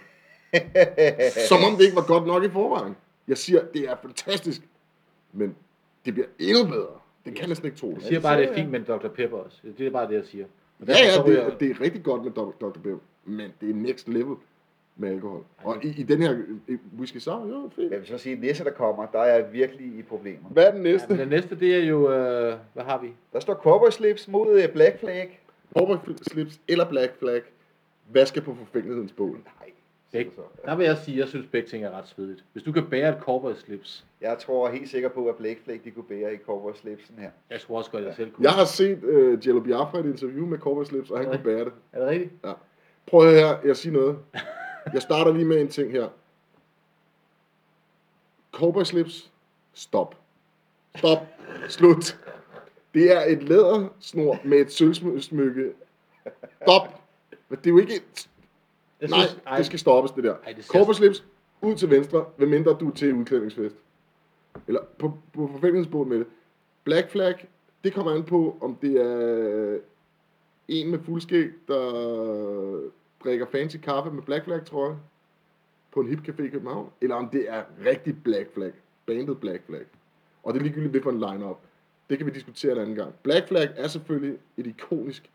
Som om det ikke var godt nok i forvejen. Jeg siger, det er fantastisk, men det bliver endnu bedre. Det kan næsten ikke tro Jeg det. siger bare, at det er fint med en Dr. Pepper også. Det er bare det, jeg siger. Og Ja, derfor så ja, ryger- det, det er rigtig godt med Dr. Dr. Pepper, men det er next level med alkohol. Og i, i den her i whisky sour, jo, Jeg fedt. vil så sige, at næste, der kommer, der er jeg virkelig i problemer. Hvad er den Ja, men næste? den næste, det er jo... Øh, hvad har vi? Der står Cowboy Slips mod øh, Black Flag. Purple slips eller black flag? Hvad skal på forfængelighedens bål? Nej, Begge. siger du så. Der vil jeg sige, at jeg synes, begge ting er ret svedigt. Hvis du kan bære et cowboy slips, Jeg tror helt sikker på, at Black Flag de kunne bære i Cowboy Slipsen her. jeg tror også godt, jeg selv kunne. Jeg har set uh, Jello Biafra i et interview med Cowboy Slips, og han kunne bære det. Er det rigtigt? Prøv at høre her, jeg siger noget. Jeg starter lige med en ting her. Cowboy slips. Stop. Stop. Slut. Det er et lædersnor med et sølvsmykke. Stop. Men det er jo ikke... Et... Jeg Nej, synes, ej, det skal stoppes, det der. Ej, det ser- Cowboy slips, ud til venstre, medmindre du er til udklædningsfest. Eller på, på forfængelsesbåden med det. Black flag, det kommer an på, om det er en med fuldskæg, der drikker fancy kaffe med black flag trøje på en hip café i København, eller om det er rigtig black flag, bandet black flag. Og det er ligegyldigt, hvad for en line-up. Det kan vi diskutere en anden gang. Black flag er selvfølgelig et ikonisk,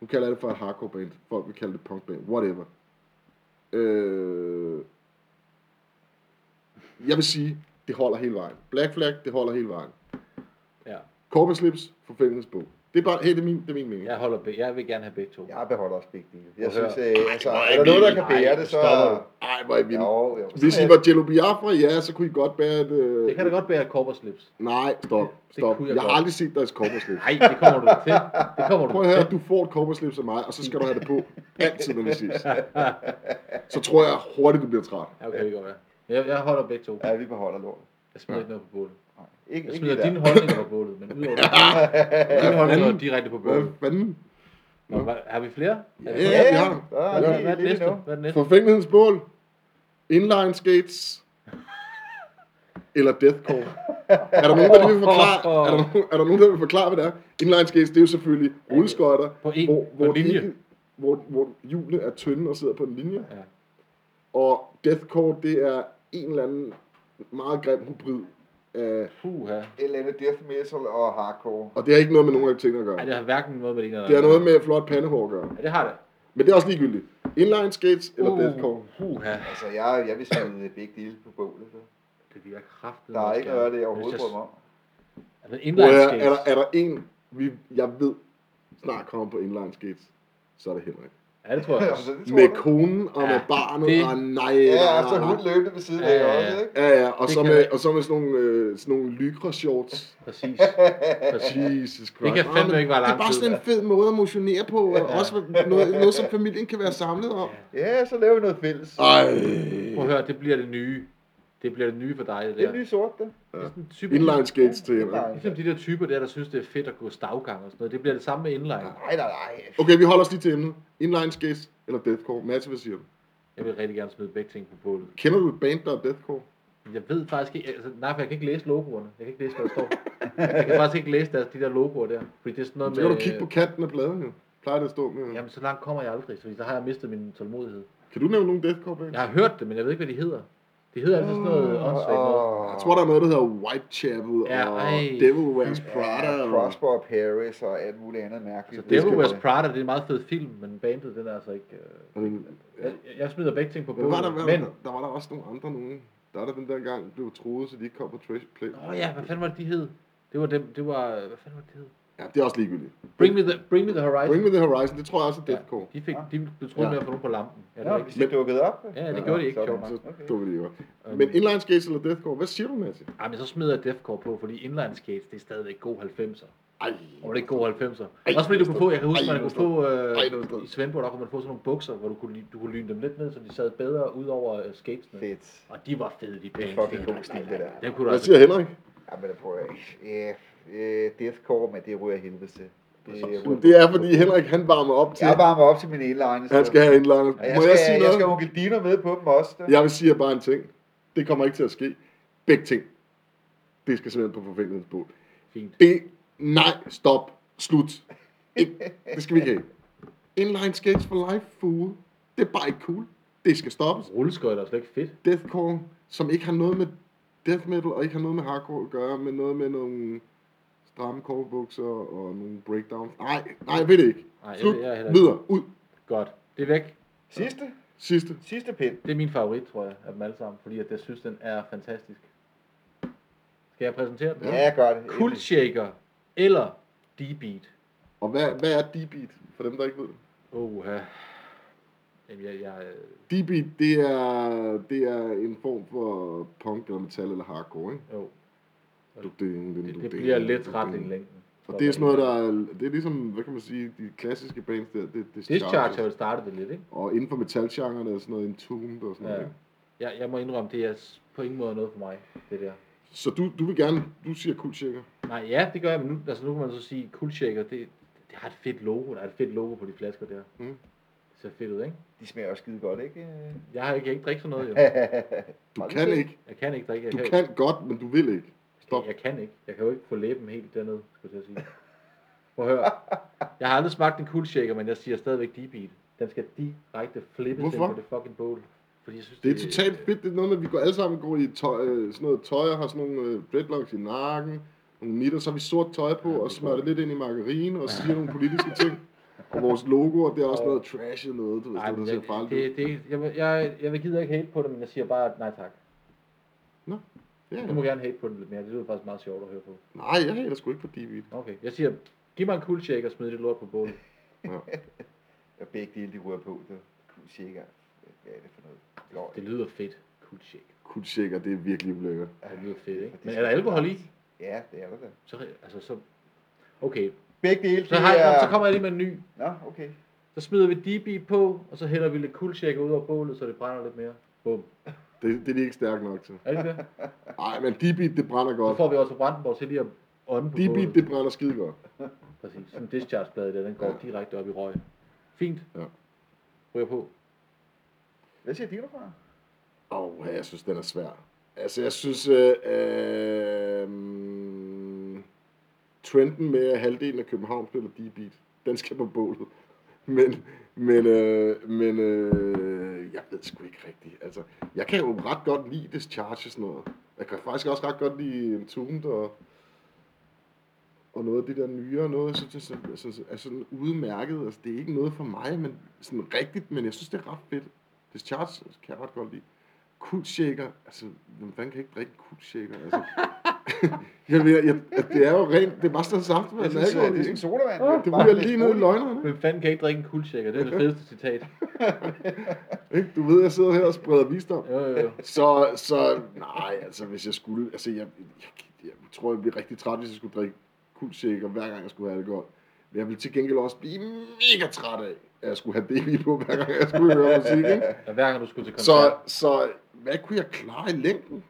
nu kalder jeg det for et hardcore band, folk vil kalde det punk band, whatever. Øh, jeg vil sige, det holder hele vejen. Black flag, det holder hele vejen. Ja. Corpus Slips, forfængelsesbog. Det Det er bare, hey, det er min, det er min mening. Jeg, holder, be- jeg vil gerne have begge to. Ja. Jeg beholder også begge dele. Jeg Prøv synes, at øh, altså, Ej, er der noget, der kan nej, bære det, så... stopper du. Ej, hvor er I vildt. Jo, jo. Hvis I var Jello Biafra, ja, så kunne I godt bære et... Øh... Det kan da godt være et korporslips. Nej, stop, Det- det stop. kunne jeg jeg har godt. aldrig set deres kopperslips. Nej, det kommer du ikke til. Det kommer du Prøv at ikke høre, til. du får et kopperslips af mig, og så skal du have det på altid, når vi ses. Så tror jeg hurtigt, du bliver træt. Ja, okay, det kan godt være. Jeg, jeg holder begge to. Ja, vi beholder lort. Jeg smider ikke noget på bålet. Nej, Ikke, Jeg ikke smider lige der. dine holdninger på bålet, men udover det, dine holdninger er direkte på Hvad bålet. fanden? Nå, hvad- har vi flere? Er det Ja, flere? vi har. Der Hvad, er lige- hvad, hvad er det lige næste? nu. Hvad er det næste? Forfængelighedsbål, inline skates, eller deathcore. Er der nogen, der lige vil forklare, er der nogen, er der nogen, der vil forklare, hvad det er? Inline skates, det er jo selvfølgelig rulleskøjter, På en- hvor, på hvor, en de linje. ikke- hvor, hvor hjulene er tynde og sidder på en linje. Ja. Og deathcore, det er en eller anden meget grim hybrid. Af, Puh, ja. Et eller andet death metal og hardcore. og det har ikke noget med nogen af tingene at Ej, gøre. det har hverken noget med det ene eller Det har andet. noget med flot pandehår at gøre. Ja, det har det. Men det er også ligegyldigt. Inline skates eller Uh, deathcore. Puha. Altså, jeg, jeg vil smide begge dele på bålet. så. Det virker kraftigt. Altså, Der er ikke noget af det, jeg overhovedet bryder mig om. Er det Hvor inline er, skates? er, der, er der en, vi, jeg ved, snart kommer på inline skates, så er det Henrik. Ja, det tror jeg også. Altså, det tror Med jeg da. konen og med Ja, barnet, det- og nej, Ja, nej, og så nej, hun nej. løbende ved siden Ja, af ja, også, ja. ikke? Ja, ja, og Det så, kan med, jeg- og så med sådan nogle, øh, sådan nogle lycra shorts. Præcis. Præcis. Jesus Christ. Det kan Nå, fandme men ikke være Det er lang bare tid, sådan en fed måde at motionere på, og også noget, noget, som familien kan være samlet om. Ja, så laver vi noget fælles. Ej. Prøv at høre, det bliver det nye. Det bliver det nye for dig, det Det er der. lige sort, det. Det er sådan en type, Inline skates til Nej. Henrik. Ligesom de der typer der, der synes, det er fedt at gå stavgang og sådan noget. Det bliver det samme med inline. Nej, nej, nej. Okay, vi holder os lige til emnet. Inline skates eller deathcore. Mads, hvad siger du? Jeg vil rigtig gerne smide begge ting på bålet. Kender du et band, der er deathcore? Jeg ved faktisk ikke, altså, nej, for jeg kan ikke læse logoerne. Jeg kan ikke læse, hvad der står. Jeg kan faktisk ikke læse deres, de der logoer der. Fordi det er sådan noget Så med... kan du kigge på kanten af pladen, jo. Plejer det at stå med. Jamen, så langt kommer jeg aldrig, fordi der har jeg mistet min tålmodighed. Kan du nævne nogle deathcore bands? Jeg har hørt det, men jeg ved ikke, hvad de hedder. De hedder altid sådan Mm, noget øh, åndssvagt noget. Jeg tror, der er noget, der hedder Whitechapel Ja, og ej. Devil Wears Prada. Prada og... og... Prosper og Paris og alt muligt andet Så mærkeligt. Altså, Devil skal Wears være- Prada, det er en meget fed film, men bandet, den er altså ikke... Øh... og den- Jeg, jeg smider begge ting på Men var bordet, der, var, men... der, der, var der også nogle andre nogen. Der er der den der gang, blev troet, så de ikke kom på Trash Play. Åh oh, ja, hvad fanden var det, de hed? Det var dem, det var... Hvad fanden var det, de hed? Ja, det er også ligegyldigt. Bring Me The, bring me the Horizon. Bring Me The Horizon, det tror jeg også er deathcore. Ja, de, fik, de blev troet Ja. med at få nogen på lampen. Ja, det Nå, var hvis ikke. de dukkede op. ja det gjorde de ikke, sjovt nok. Så Okay. Um, dukker de jo. Øhm, Men Inline Skates eller Deathcore, hvad siger du, Mads? Ej, men så smider jeg Deathcore på, fordi Inline Skates, det er stadigvæk god 90'er. Ej, Og det er god 90'er. Ej, Også fordi du kunne få, jeg kan huske, Ej, man kunne det var få, Ej, uh, det var øh, stort. i Svendborg, der kunne man få sådan nogle bukser, hvor du kunne, ly- du kunne lyne dem lidt ned, så de sad bedre ud over øh, skatesene. Fedt. Og de var fede, de Det er pæne. fucking god stil, det der. Dem kunne du Hvad altså... siger Henrik? Ja, men det prøver jeg ikke. Ja, øh, deathcore, men det ryger jeg helvede til. Det, ryger- Det er, fordi Henrik, han varmer op til, Jeg varmer op til min ene line. han skal have Inline. Og jeg Må skal, jeg sige jeg skal noget? have onkel Dino med på dem også. Da. Jeg vil sige jer bare en ting. Det kommer ikke til at ske. Begge ting. Det skal simpelthen på forfængelighedsbål. Fint. Det, E, nej, stop, slut. Ikke, det skal vi ikke have. Inline skates for life, fool. Det er bare ikke cool. Det skal stoppes. Rulleskøjter er slet ikke fedt. Deathcore, som ikke har noget med death metal, og ikke har noget med hardcore at gøre, men noget med nogle stramme korvbukser og nogle breakdowns. Nej, nej, jeg ved det ikke. Nej, jeg Slut, ved- jeg er heller ikke. videre, ud. Godt. Det er væk. Sidste, Sidste. sidste pind. Det er min favorit, tror jeg, af dem alle sammen, fordi at jeg synes, den er fantastisk. Skal jeg præsentere den? Ja, jeg gør det. Kult Shaker eller D-Beat? Og hvad, hvad er D-beat, for dem, der ikke ved det? Åh, Jamen, jeg, jeg, øh, D-beat, det er, det er en form for punk eller metal eller hardcore, ikke? jo, Du- ding, ding, det, du- det ding, bliver du- lidt ding. ret i længden. Og det er sådan noget, der er, det er ligesom, hvad kan man sige, de klassiske bands der, det, det Discharge har jo startet det lidt, ikke? Og inden for metalgenren er sådan noget Entombed og sådan noget. Ja. ikke? Jeg, jeg må indrømme, det er s- på ingen måde noget for mig, det der. Så du, du vil gerne, du siger cool shaker. Nej, ja, det gør jeg, men nu, altså, nu kan man så sige, Kult Shaker, det, det har et fedt logo, der er et fedt logo på de flasker der. Mm. Det ser fedt ud, ikke? De smager også skide godt, ikke? Jeg, har, jeg kan ikke drikke sådan noget, jo. Du Hold kan da. ikke, Jeg kan ikke drikke. Jeg du kan, jo- kan godt, men du vil ikke. Stop. Jeg kan ikke. Jeg kan jo ikke få læben helt dernede, skulle jeg til at sige. Prøv at høre. Jeg har aldrig smagt en cool shaker, men jeg siger stadigvæk D-beat. Den skal direkte flippes ind Hvorfor? på det fucking bål. Fordi jeg synes, Det er totalt fedt, det er noget med, at vi går alle sammen går i tøj, øh, sådan noget tøj, og har sådan nogle øh, dreadlocks i nakken, nogle nitter, så har vi sort tøj på, og smører det lidt ind i margarine, og siger nogle politiske ting. Og vores logoer, det er også noget trashet noget, du ved, Ej, sådan noget, men der jeg, ser farligt ud. det, det, jeg, vil- jeg, jeg vil gider ikke hate på det, men jeg siger bare nej tak. Ja, Du må ja. Mm. gerne hate på det lidt mere. Det lyder faktisk meget sjovt at høre på. Nej, jeg hater sgu ikke på d Okay, jeg siger Giv mig en kuldtjek og smid det lort på bålet. Og begge dele, de rører på, det kunne sikkert. Hvad er det for noget? Løg. Det lyder fedt. Kuldtjek. Kuldtjekker, det er virkelig ulækkert. Det lyder fedt, ikke? Og det Men er skal der alkohol i? Ja, det er der da. Så, altså, så... Okay, Begge dele, så, de har jeg, er- så kommer jeg lige med en ny. Nå, okay. Så smider vi DB på, og så hælder vi lidt kuldtjekker ud over bålet, så det brænder lidt mere. Bum. Det, det er de ikke stærke nok til. Er det ikke det? Nej, men D-beat, det brænder Så godt. får vi også Brandenborg til lige at ånde på D-beat, bålet. det brænder skide godt. Præcis. Sådan en dischargeplade der, den går Ja. direkte op i røg. Fint. Ja. Ryger på. Hvad siger de derfra? Åh, oh, jeg synes, den er svær. Altså, jeg synes, øh, øh, mm, trenden med, at halvdelen af København spiller D-beat, den skal på bålet. Men, men, øh, men øh, jeg ved sgu ikke rigtigt. Altså, jeg kan jo ret godt lide Discharge og sådan noget. Jeg kan faktisk også ret godt lide Entombed og, og noget af det der nyere noget. Jeg synes, det er, sådan- sådan- er sådan udmærket. Altså, det er ikke noget for mig, men sådan rigtigt, men jeg synes, det er ret fedt. Discharge kan jeg ret godt lide. Kultshaker, altså, hvem fanden kan ikke drikke kultshaker? Altså, jeg, ved, jeg, jeg, det er jo rent, det er bare sådan saft, med Det er sådan, alkohol så- i, øh, det er ikke? sådan sodavand. Ah, det ryger lige ned i løgnerne. Hvem fanden kan ikke drikke en kuldtjekker? Det er det fedeste citat. Ikke? Du ved, jeg sidder her og spreder visdom. Jo, jo, jo. Så, så nej, altså hvis jeg skulle, altså jeg, jeg, jeg tror, jeg bliver rigtig træt, hvis jeg skulle drikke kuldshaker, hver gang jeg skulle have alkohol. Men jeg ville til gengæld også blive mega træt af, at jeg skulle have baby på, hver gang jeg skulle høre musik. Ikke? Og hver gang du skulle til koncert. Så, så hvad kunne jeg klare i længden?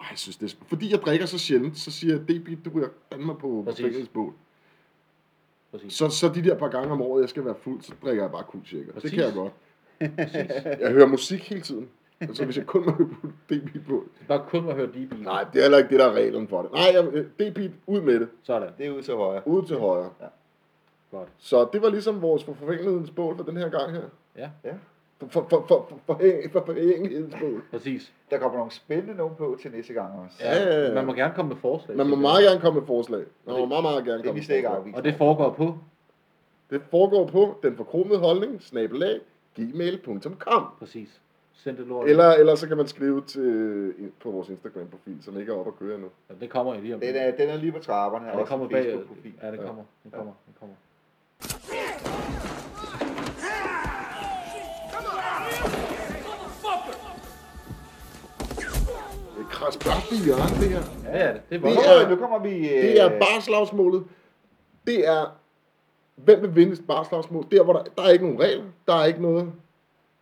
Ej, jeg synes, det er, sp- fordi jeg drikker så sjældent, så siger jeg, det du ryger fandme på, på Præcis. fængselsbål. Præcis. Så, så de der par gange om året, jeg skal være fuld, så drikker jeg bare kuldshaker. Det kan jeg Præcis. godt. Præcis. Jeg hører musik hele tiden. Altså, hvis jeg kun må høre på DB på. Det er bare kun at høre DB. Nej, det er heller ikke det, der er reglen for det. Nej, jeg, øh, DB, ud med det. Sådan. Det er ude til højre. Ude til højre. Ja. Godt. Så det var ligesom vores forfængelighedens bål for den her gang her. Ja. Ja. For, for, for, for, for, forhæng- for forhængelighedens bål. Præcis. Der kommer nogle spændende nogen på til næste gang også. Ja, Ja, ja, ja. man må gerne komme med forslag. Man må tænker jeg. meget gerne komme med forslag. Man må Det- meget, meget gerne Det er komme vi med slet ikke forslag. afvist. Og det foregår på. Det foregår på den forkromede holdning, snabelag, gmail.com. Præcis. Send det lort. Eller, eller så kan man skrive til, på vores Instagram-profil, som ikke er oppe at køre endnu. Ja, det kommer jo lige om. Den er, den er lige på trapperne. ja, det også kommer en bag. Facebook-profil. Ja, det kommer. Det kommer. Det kommer. Det er krasbørst i hjørnet, det her. Ja, ja, det er Nu Det voldsomt. kommer, er- nu kommer vi... øh, Det er barslagsmålet. Det er, hvem vil vinde et barslagsmål? Der, hvor der, der er ikke nogen regler. Der er ikke noget.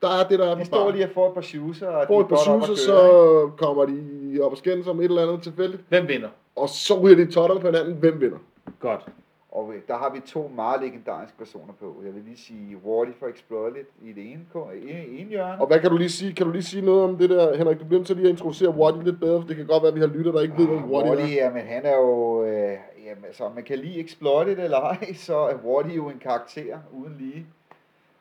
Der er det, der er De på står bar. lige og får et par shoeser, og Får de et er par godt op at suser, så køre, ikke? kommer de op og skændes om et eller andet tilfældigt. Hvem vinder? Og så ryger de totterne på hinanden. Hvem vinder? Godt. Og øh, der har vi to meget legendariske personer på. Jeg vil lige sige Wardy for Exploited i det ene, ko- i i ene hjørne. Og hvad kan du lige sige? Kan du lige sige noget om det der, Henrik? Du bliver nødt til lige at introducere Waddy lidt bedre, for det kan godt være, at vi har lytter, der ikke ved, hvem Waddy Wardy, er. jamen han er jo, øh, jamen, altså, om man kan lide Exploited eller ej, så er Wardy jo en karakter uden lige.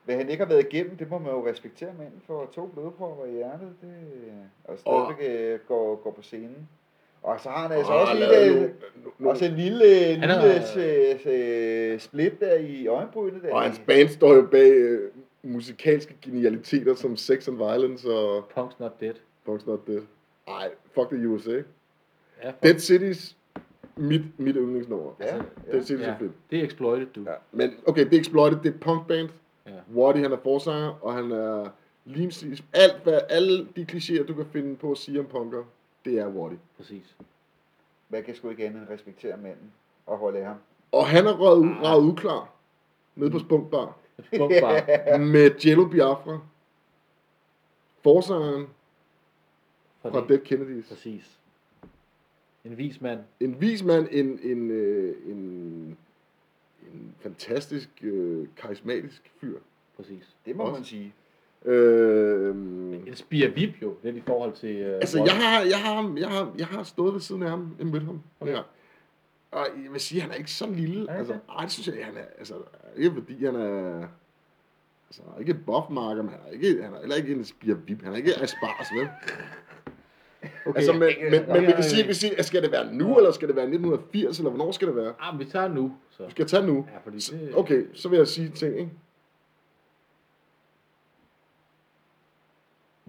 Hvad han ikke har været igennem, det må man jo respektere manden for to blodpropper i hjertet, det, og stadigvæk øh, går, går på scenen. Og så har han altså Og også, har lidt, lavet øh, nogle- nogle- også en lille, Han har- lille s- s- split der i øjenbrynet. Der. Og hans band står jo bag øh, musikalske genialiteter som Sex and Violence og Punk's not dead. Punk's Not Dead. Ej, fuck the USA. Ja, for... Dead Cities, mit, mit yndlingsnummer. Altså, Ja, Dead ja. Cities ja. er fedt. Det er exploited, du. Ja. Men okay, det er Exploited, det er et punkband. Ja. Waddy, han er forsanger, og han er limsis. Alt, hvad, alle de klichéer, du kan finde på at sige om punker, det er Waddy. Præcis. Man kan sgu ikke andet end respektere manden og holde af ham. Og han er røget Ah. ud, raget uklar. Nede på Spunkbar. Bum, bare. Med Jello Biafra. Forsangeren fra Dead Kennedys. Præcis. En vis mand. En vis mand, en, en, øh, en, en fantastisk, øh, karismatisk fyr. Præcis. Det må Også. man sige. Øh, En spire vip jo, lidt i forhold til... Øh, altså, Rolf. jeg har, jeg, har, jeg, har, jeg har stået ved siden af ham, jeg mødte ham. Okay. Og jeg vil sige, han er ikke så lille. han Altså, ikke ej, det synes jeg, han er, altså, ikke fordi han er, altså, han er ikke et buffmarker, men han er, ikke, han er heller ikke en spirvip, han er ikke aspars, vel? Okay, altså, men, men, men, okay, vi kan okay. sige, vi kan sige, skal det være nu, eller skal det være 1980, eller hvornår skal det være? Ah, men vi tager nu, så. Du skal tage nu. Ja, fordi Så- det- Okay, så vil jeg sige en ting, ikke?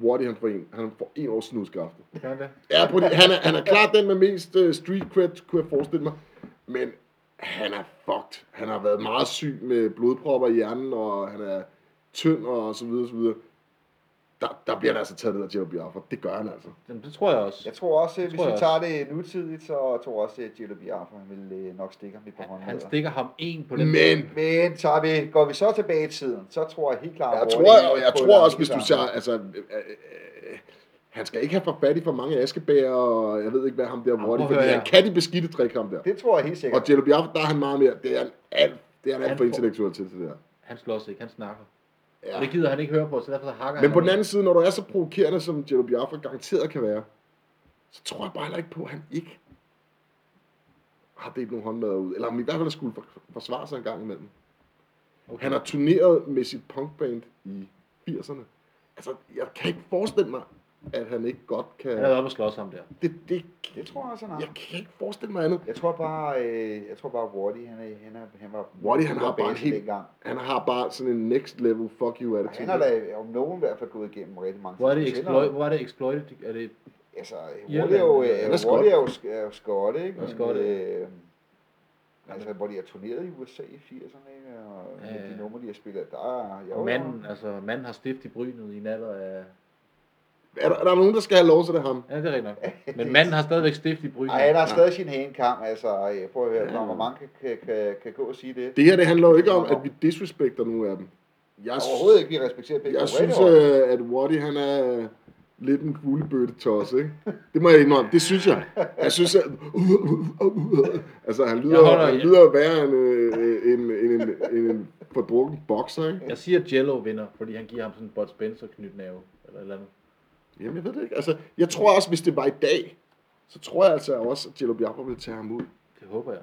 Wardy, han får en, han får en års snuskaften. Gør han det? Ja, på det, han, er, han er klart den med mest øh, street cred, kunne jeg forestille mig. Men han er fucked. Han har været meget syg med blodpropper i hjernen, og han er tynd og så videre, så videre. Der, der bliver han altså taget ned af Jello Biafra. Det gør han altså. Jamen, det tror jeg også. Jeg tror også, Det hvis tror vi jeg tager det nutidigt, så tror jeg også, at Gillo Biafra vil øh, nok stikke ham i på Han, hånden. han stikker ham en på den. Men Men tager vi, går vi så tilbage i tiden, så tror jeg helt klart... Jeg at tror, Rolling og jeg på tror et også, hvis du amerikansk- tager, altså, øh, øh, øh, han skal ikke have for fat i for mange askebæger, og jeg ved ikke, hvad ham der prøv hvor det, at fordi høre han her. kan de beskidte trick, ham der. Det tror jeg helt Og sikkert. Jello Biafra, der er han meget mere, det er han alt, det er han alt Han for får- intellektuel til det der. Han slås ikke, han snakker. Ja. Ja. Det gider han ikke høre på, så derfor så hakker Men han på ham. den anden side, når du er så provokerende, som Jello Biafra garanteret kan være, så tror jeg bare heller ikke på, at han ikke har delt nogle håndmadder ud. Eller om i hvert fald skulle for- forsvare sig en gang imellem. Okay. Han har turneret med sit punkband i 80'erne. Altså, jeg kan ikke forestille mig, at han ikke godt kan... Han er oppe og slås ham der. Det, det, Det tror jeg også, han jeg har. kan ikke forestille mig andet. Jeg tror bare, øh, jeg tror bare Wardy, han, er, han, er, han var... Wardy, han har bare en basen helt- dengang. Han har bare sådan en next level fuck you Og attitude. Han har da om nogen i hvert fald gået igennem rigtig mange Hvor er det, ting. exploit, hvor er det exploited? Er det, Altså, Irland, Wardy er jo, eller- øh, Han er skot. Wardy er jo, sk- er jo skot, ikke? Ja. Men, Skot, ja. øh, Altså, hvor de har turneret i USA i 80'erne, ikke? Og Ja, med ja. de numre, de har spillet, der er... jo, og Jo, manden, altså manden har stift i brynet i en alder af... Er der, er der nogen, der skal have lov, så det er ham. Ja, det er rigtigt nok. Men manden har stadigvæk stift i brynet. Ej, han har stadig sin hængkamp, altså. øh, Prøv at høre, ja. hvor mange kan, kan, kan, kan gå og sige det? Det her, det handler jo ikke om, at vi disrespekter nogen af dem. Jeg, sy- Overhovedet ikke, vi respekterer begge jeg to. synes, Rigtig godt. øh, at Waddy, han er øh, lidt en kuglebøtte tos, ikke? Det må jeg indrømme. Det synes jeg. Jeg synes, at... Altså, han Jeg lyder, holder han i- lyder værre end, øh, end, end, end, end en fordrukken bokser, ikke? Jeg siger, at Jello vinder, fordi han giver ham sådan en Bud Spencer knytnæve. Eller et eller andet. Jamen, jeg ved det ikke. Altså, jeg tror også, hvis det var i dag, så tror jeg altså også, at Jello Biafra ville tage ham ud. Det håber jeg.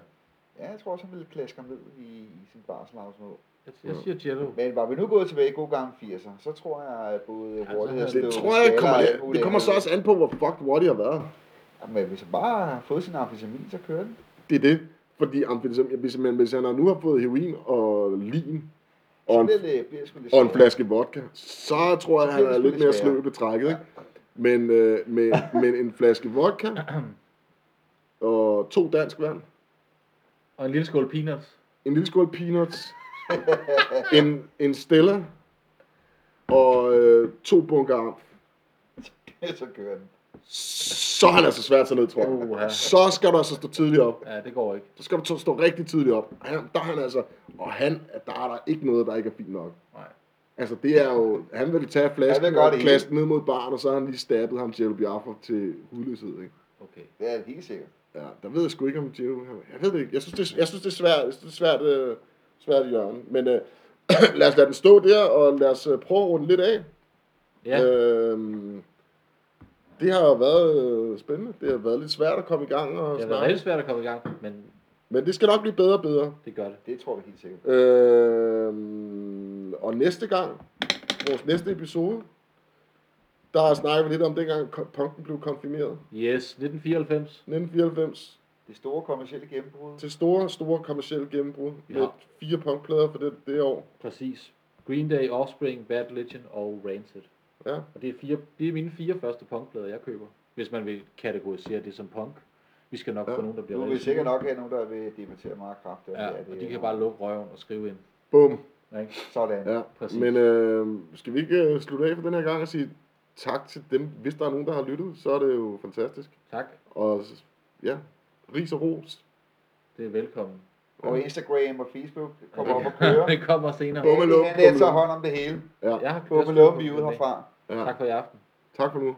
Ja, jeg tror også, han ville klaske ham ned i, i sin barselhavsmål. Jeg, jeg siger Jello. Men var vi nu gået tilbage i gode gamle 80'er, så tror jeg, at både så hurtighed havde- og Det tror jeg kommer, det, det kommer så også an på, hvor fucked Waddy har været. Men hvis han bare har fået sin amfetamin, så kører den. Det er det. Fordi amfetamin, hvis, men hvis han nu har fået heroin og lin og Så en, bliver det, bliver det sgu lidt og en svært. flaske vodka, så tror jeg, han er lidt mere sløv i betrækket. Ikke? Men, øh, men, men en flaske vodka og to dansk vand, Og en lille skål peanuts. en lille skål peanuts, en, en stella og øh, to bunker amf. så kører den. Så er han altså svært til ned, tror jeg. Uha. Så skal du altså stå tidligt op. Ja, det går ikke. Så skal du stå- stå rigtig tidligt op. Han, der er han altså, og han, der er der ikke noget, der ikke er fint nok. Nej. Altså, det er jo... Han ville tage flasken Han han vil godt og i. klasse den ned mod baren, og så har han lige stabbet ham Jello Biafra til hudløshed, ikke? Okay. Det er det helt sikkert. Ja, der ved jeg sgu ikke, om Jello... Jeg ved det ikke. Jeg synes, det, jeg synes, det er svært, jeg synes, det er svært, øh, svært hjørne. Men øh, lad os lade den stå der, og lad os øh, prøve at runde lidt af. Ja, Øhm, det har jo været øh, spændende. Det har været lidt svært at komme i gang og det har været snakke. rigtig svært at komme i gang, men Men det skal nok blive bedre og bedre. det gør det. Det tror vi helt sikkert. Øhm, og næste gang, vores næste episode, der snakker vi lidt om dengang ko- punken blev konfirmeret. Yes, 1994. 1994 Det store kommercielle gennembrud. til store, store kommersielle gennembrud Ja. med fire punkplader for det, det år. Præcis. Green Day, Offspring, Bad Religion og Rancid. Ja. Og det er, fire, det er mine fire første punkplader, jeg køber. Hvis man vil kategorisere det som punk. Vi skal nok Ja, ja. få nogen, der bliver Nu vil vi rigtig sikkert sure. nok have nogen, der vil debattere meget kraft. Ja, og de kan bare lukke røven og skrive ind. Bum. Ikke? Sådan. Ja. Præcis. Men øh, skal vi ikke øh, slutte af for den her gang og sige tak til dem. Hvis der er nogen, der har lyttet, så er det jo fantastisk. Tak. Og s- ja, ris og ros. Det er velkommen. Og Instagram og Facebook kommer Ja. op og kører. det kommer senere. Bum. Men Bummelum, det er tager bummelum. hånd om det hele. Ja, Jeg har Bummelum, vi er ude herfra. ja. Tak for i aften. Tak for nu.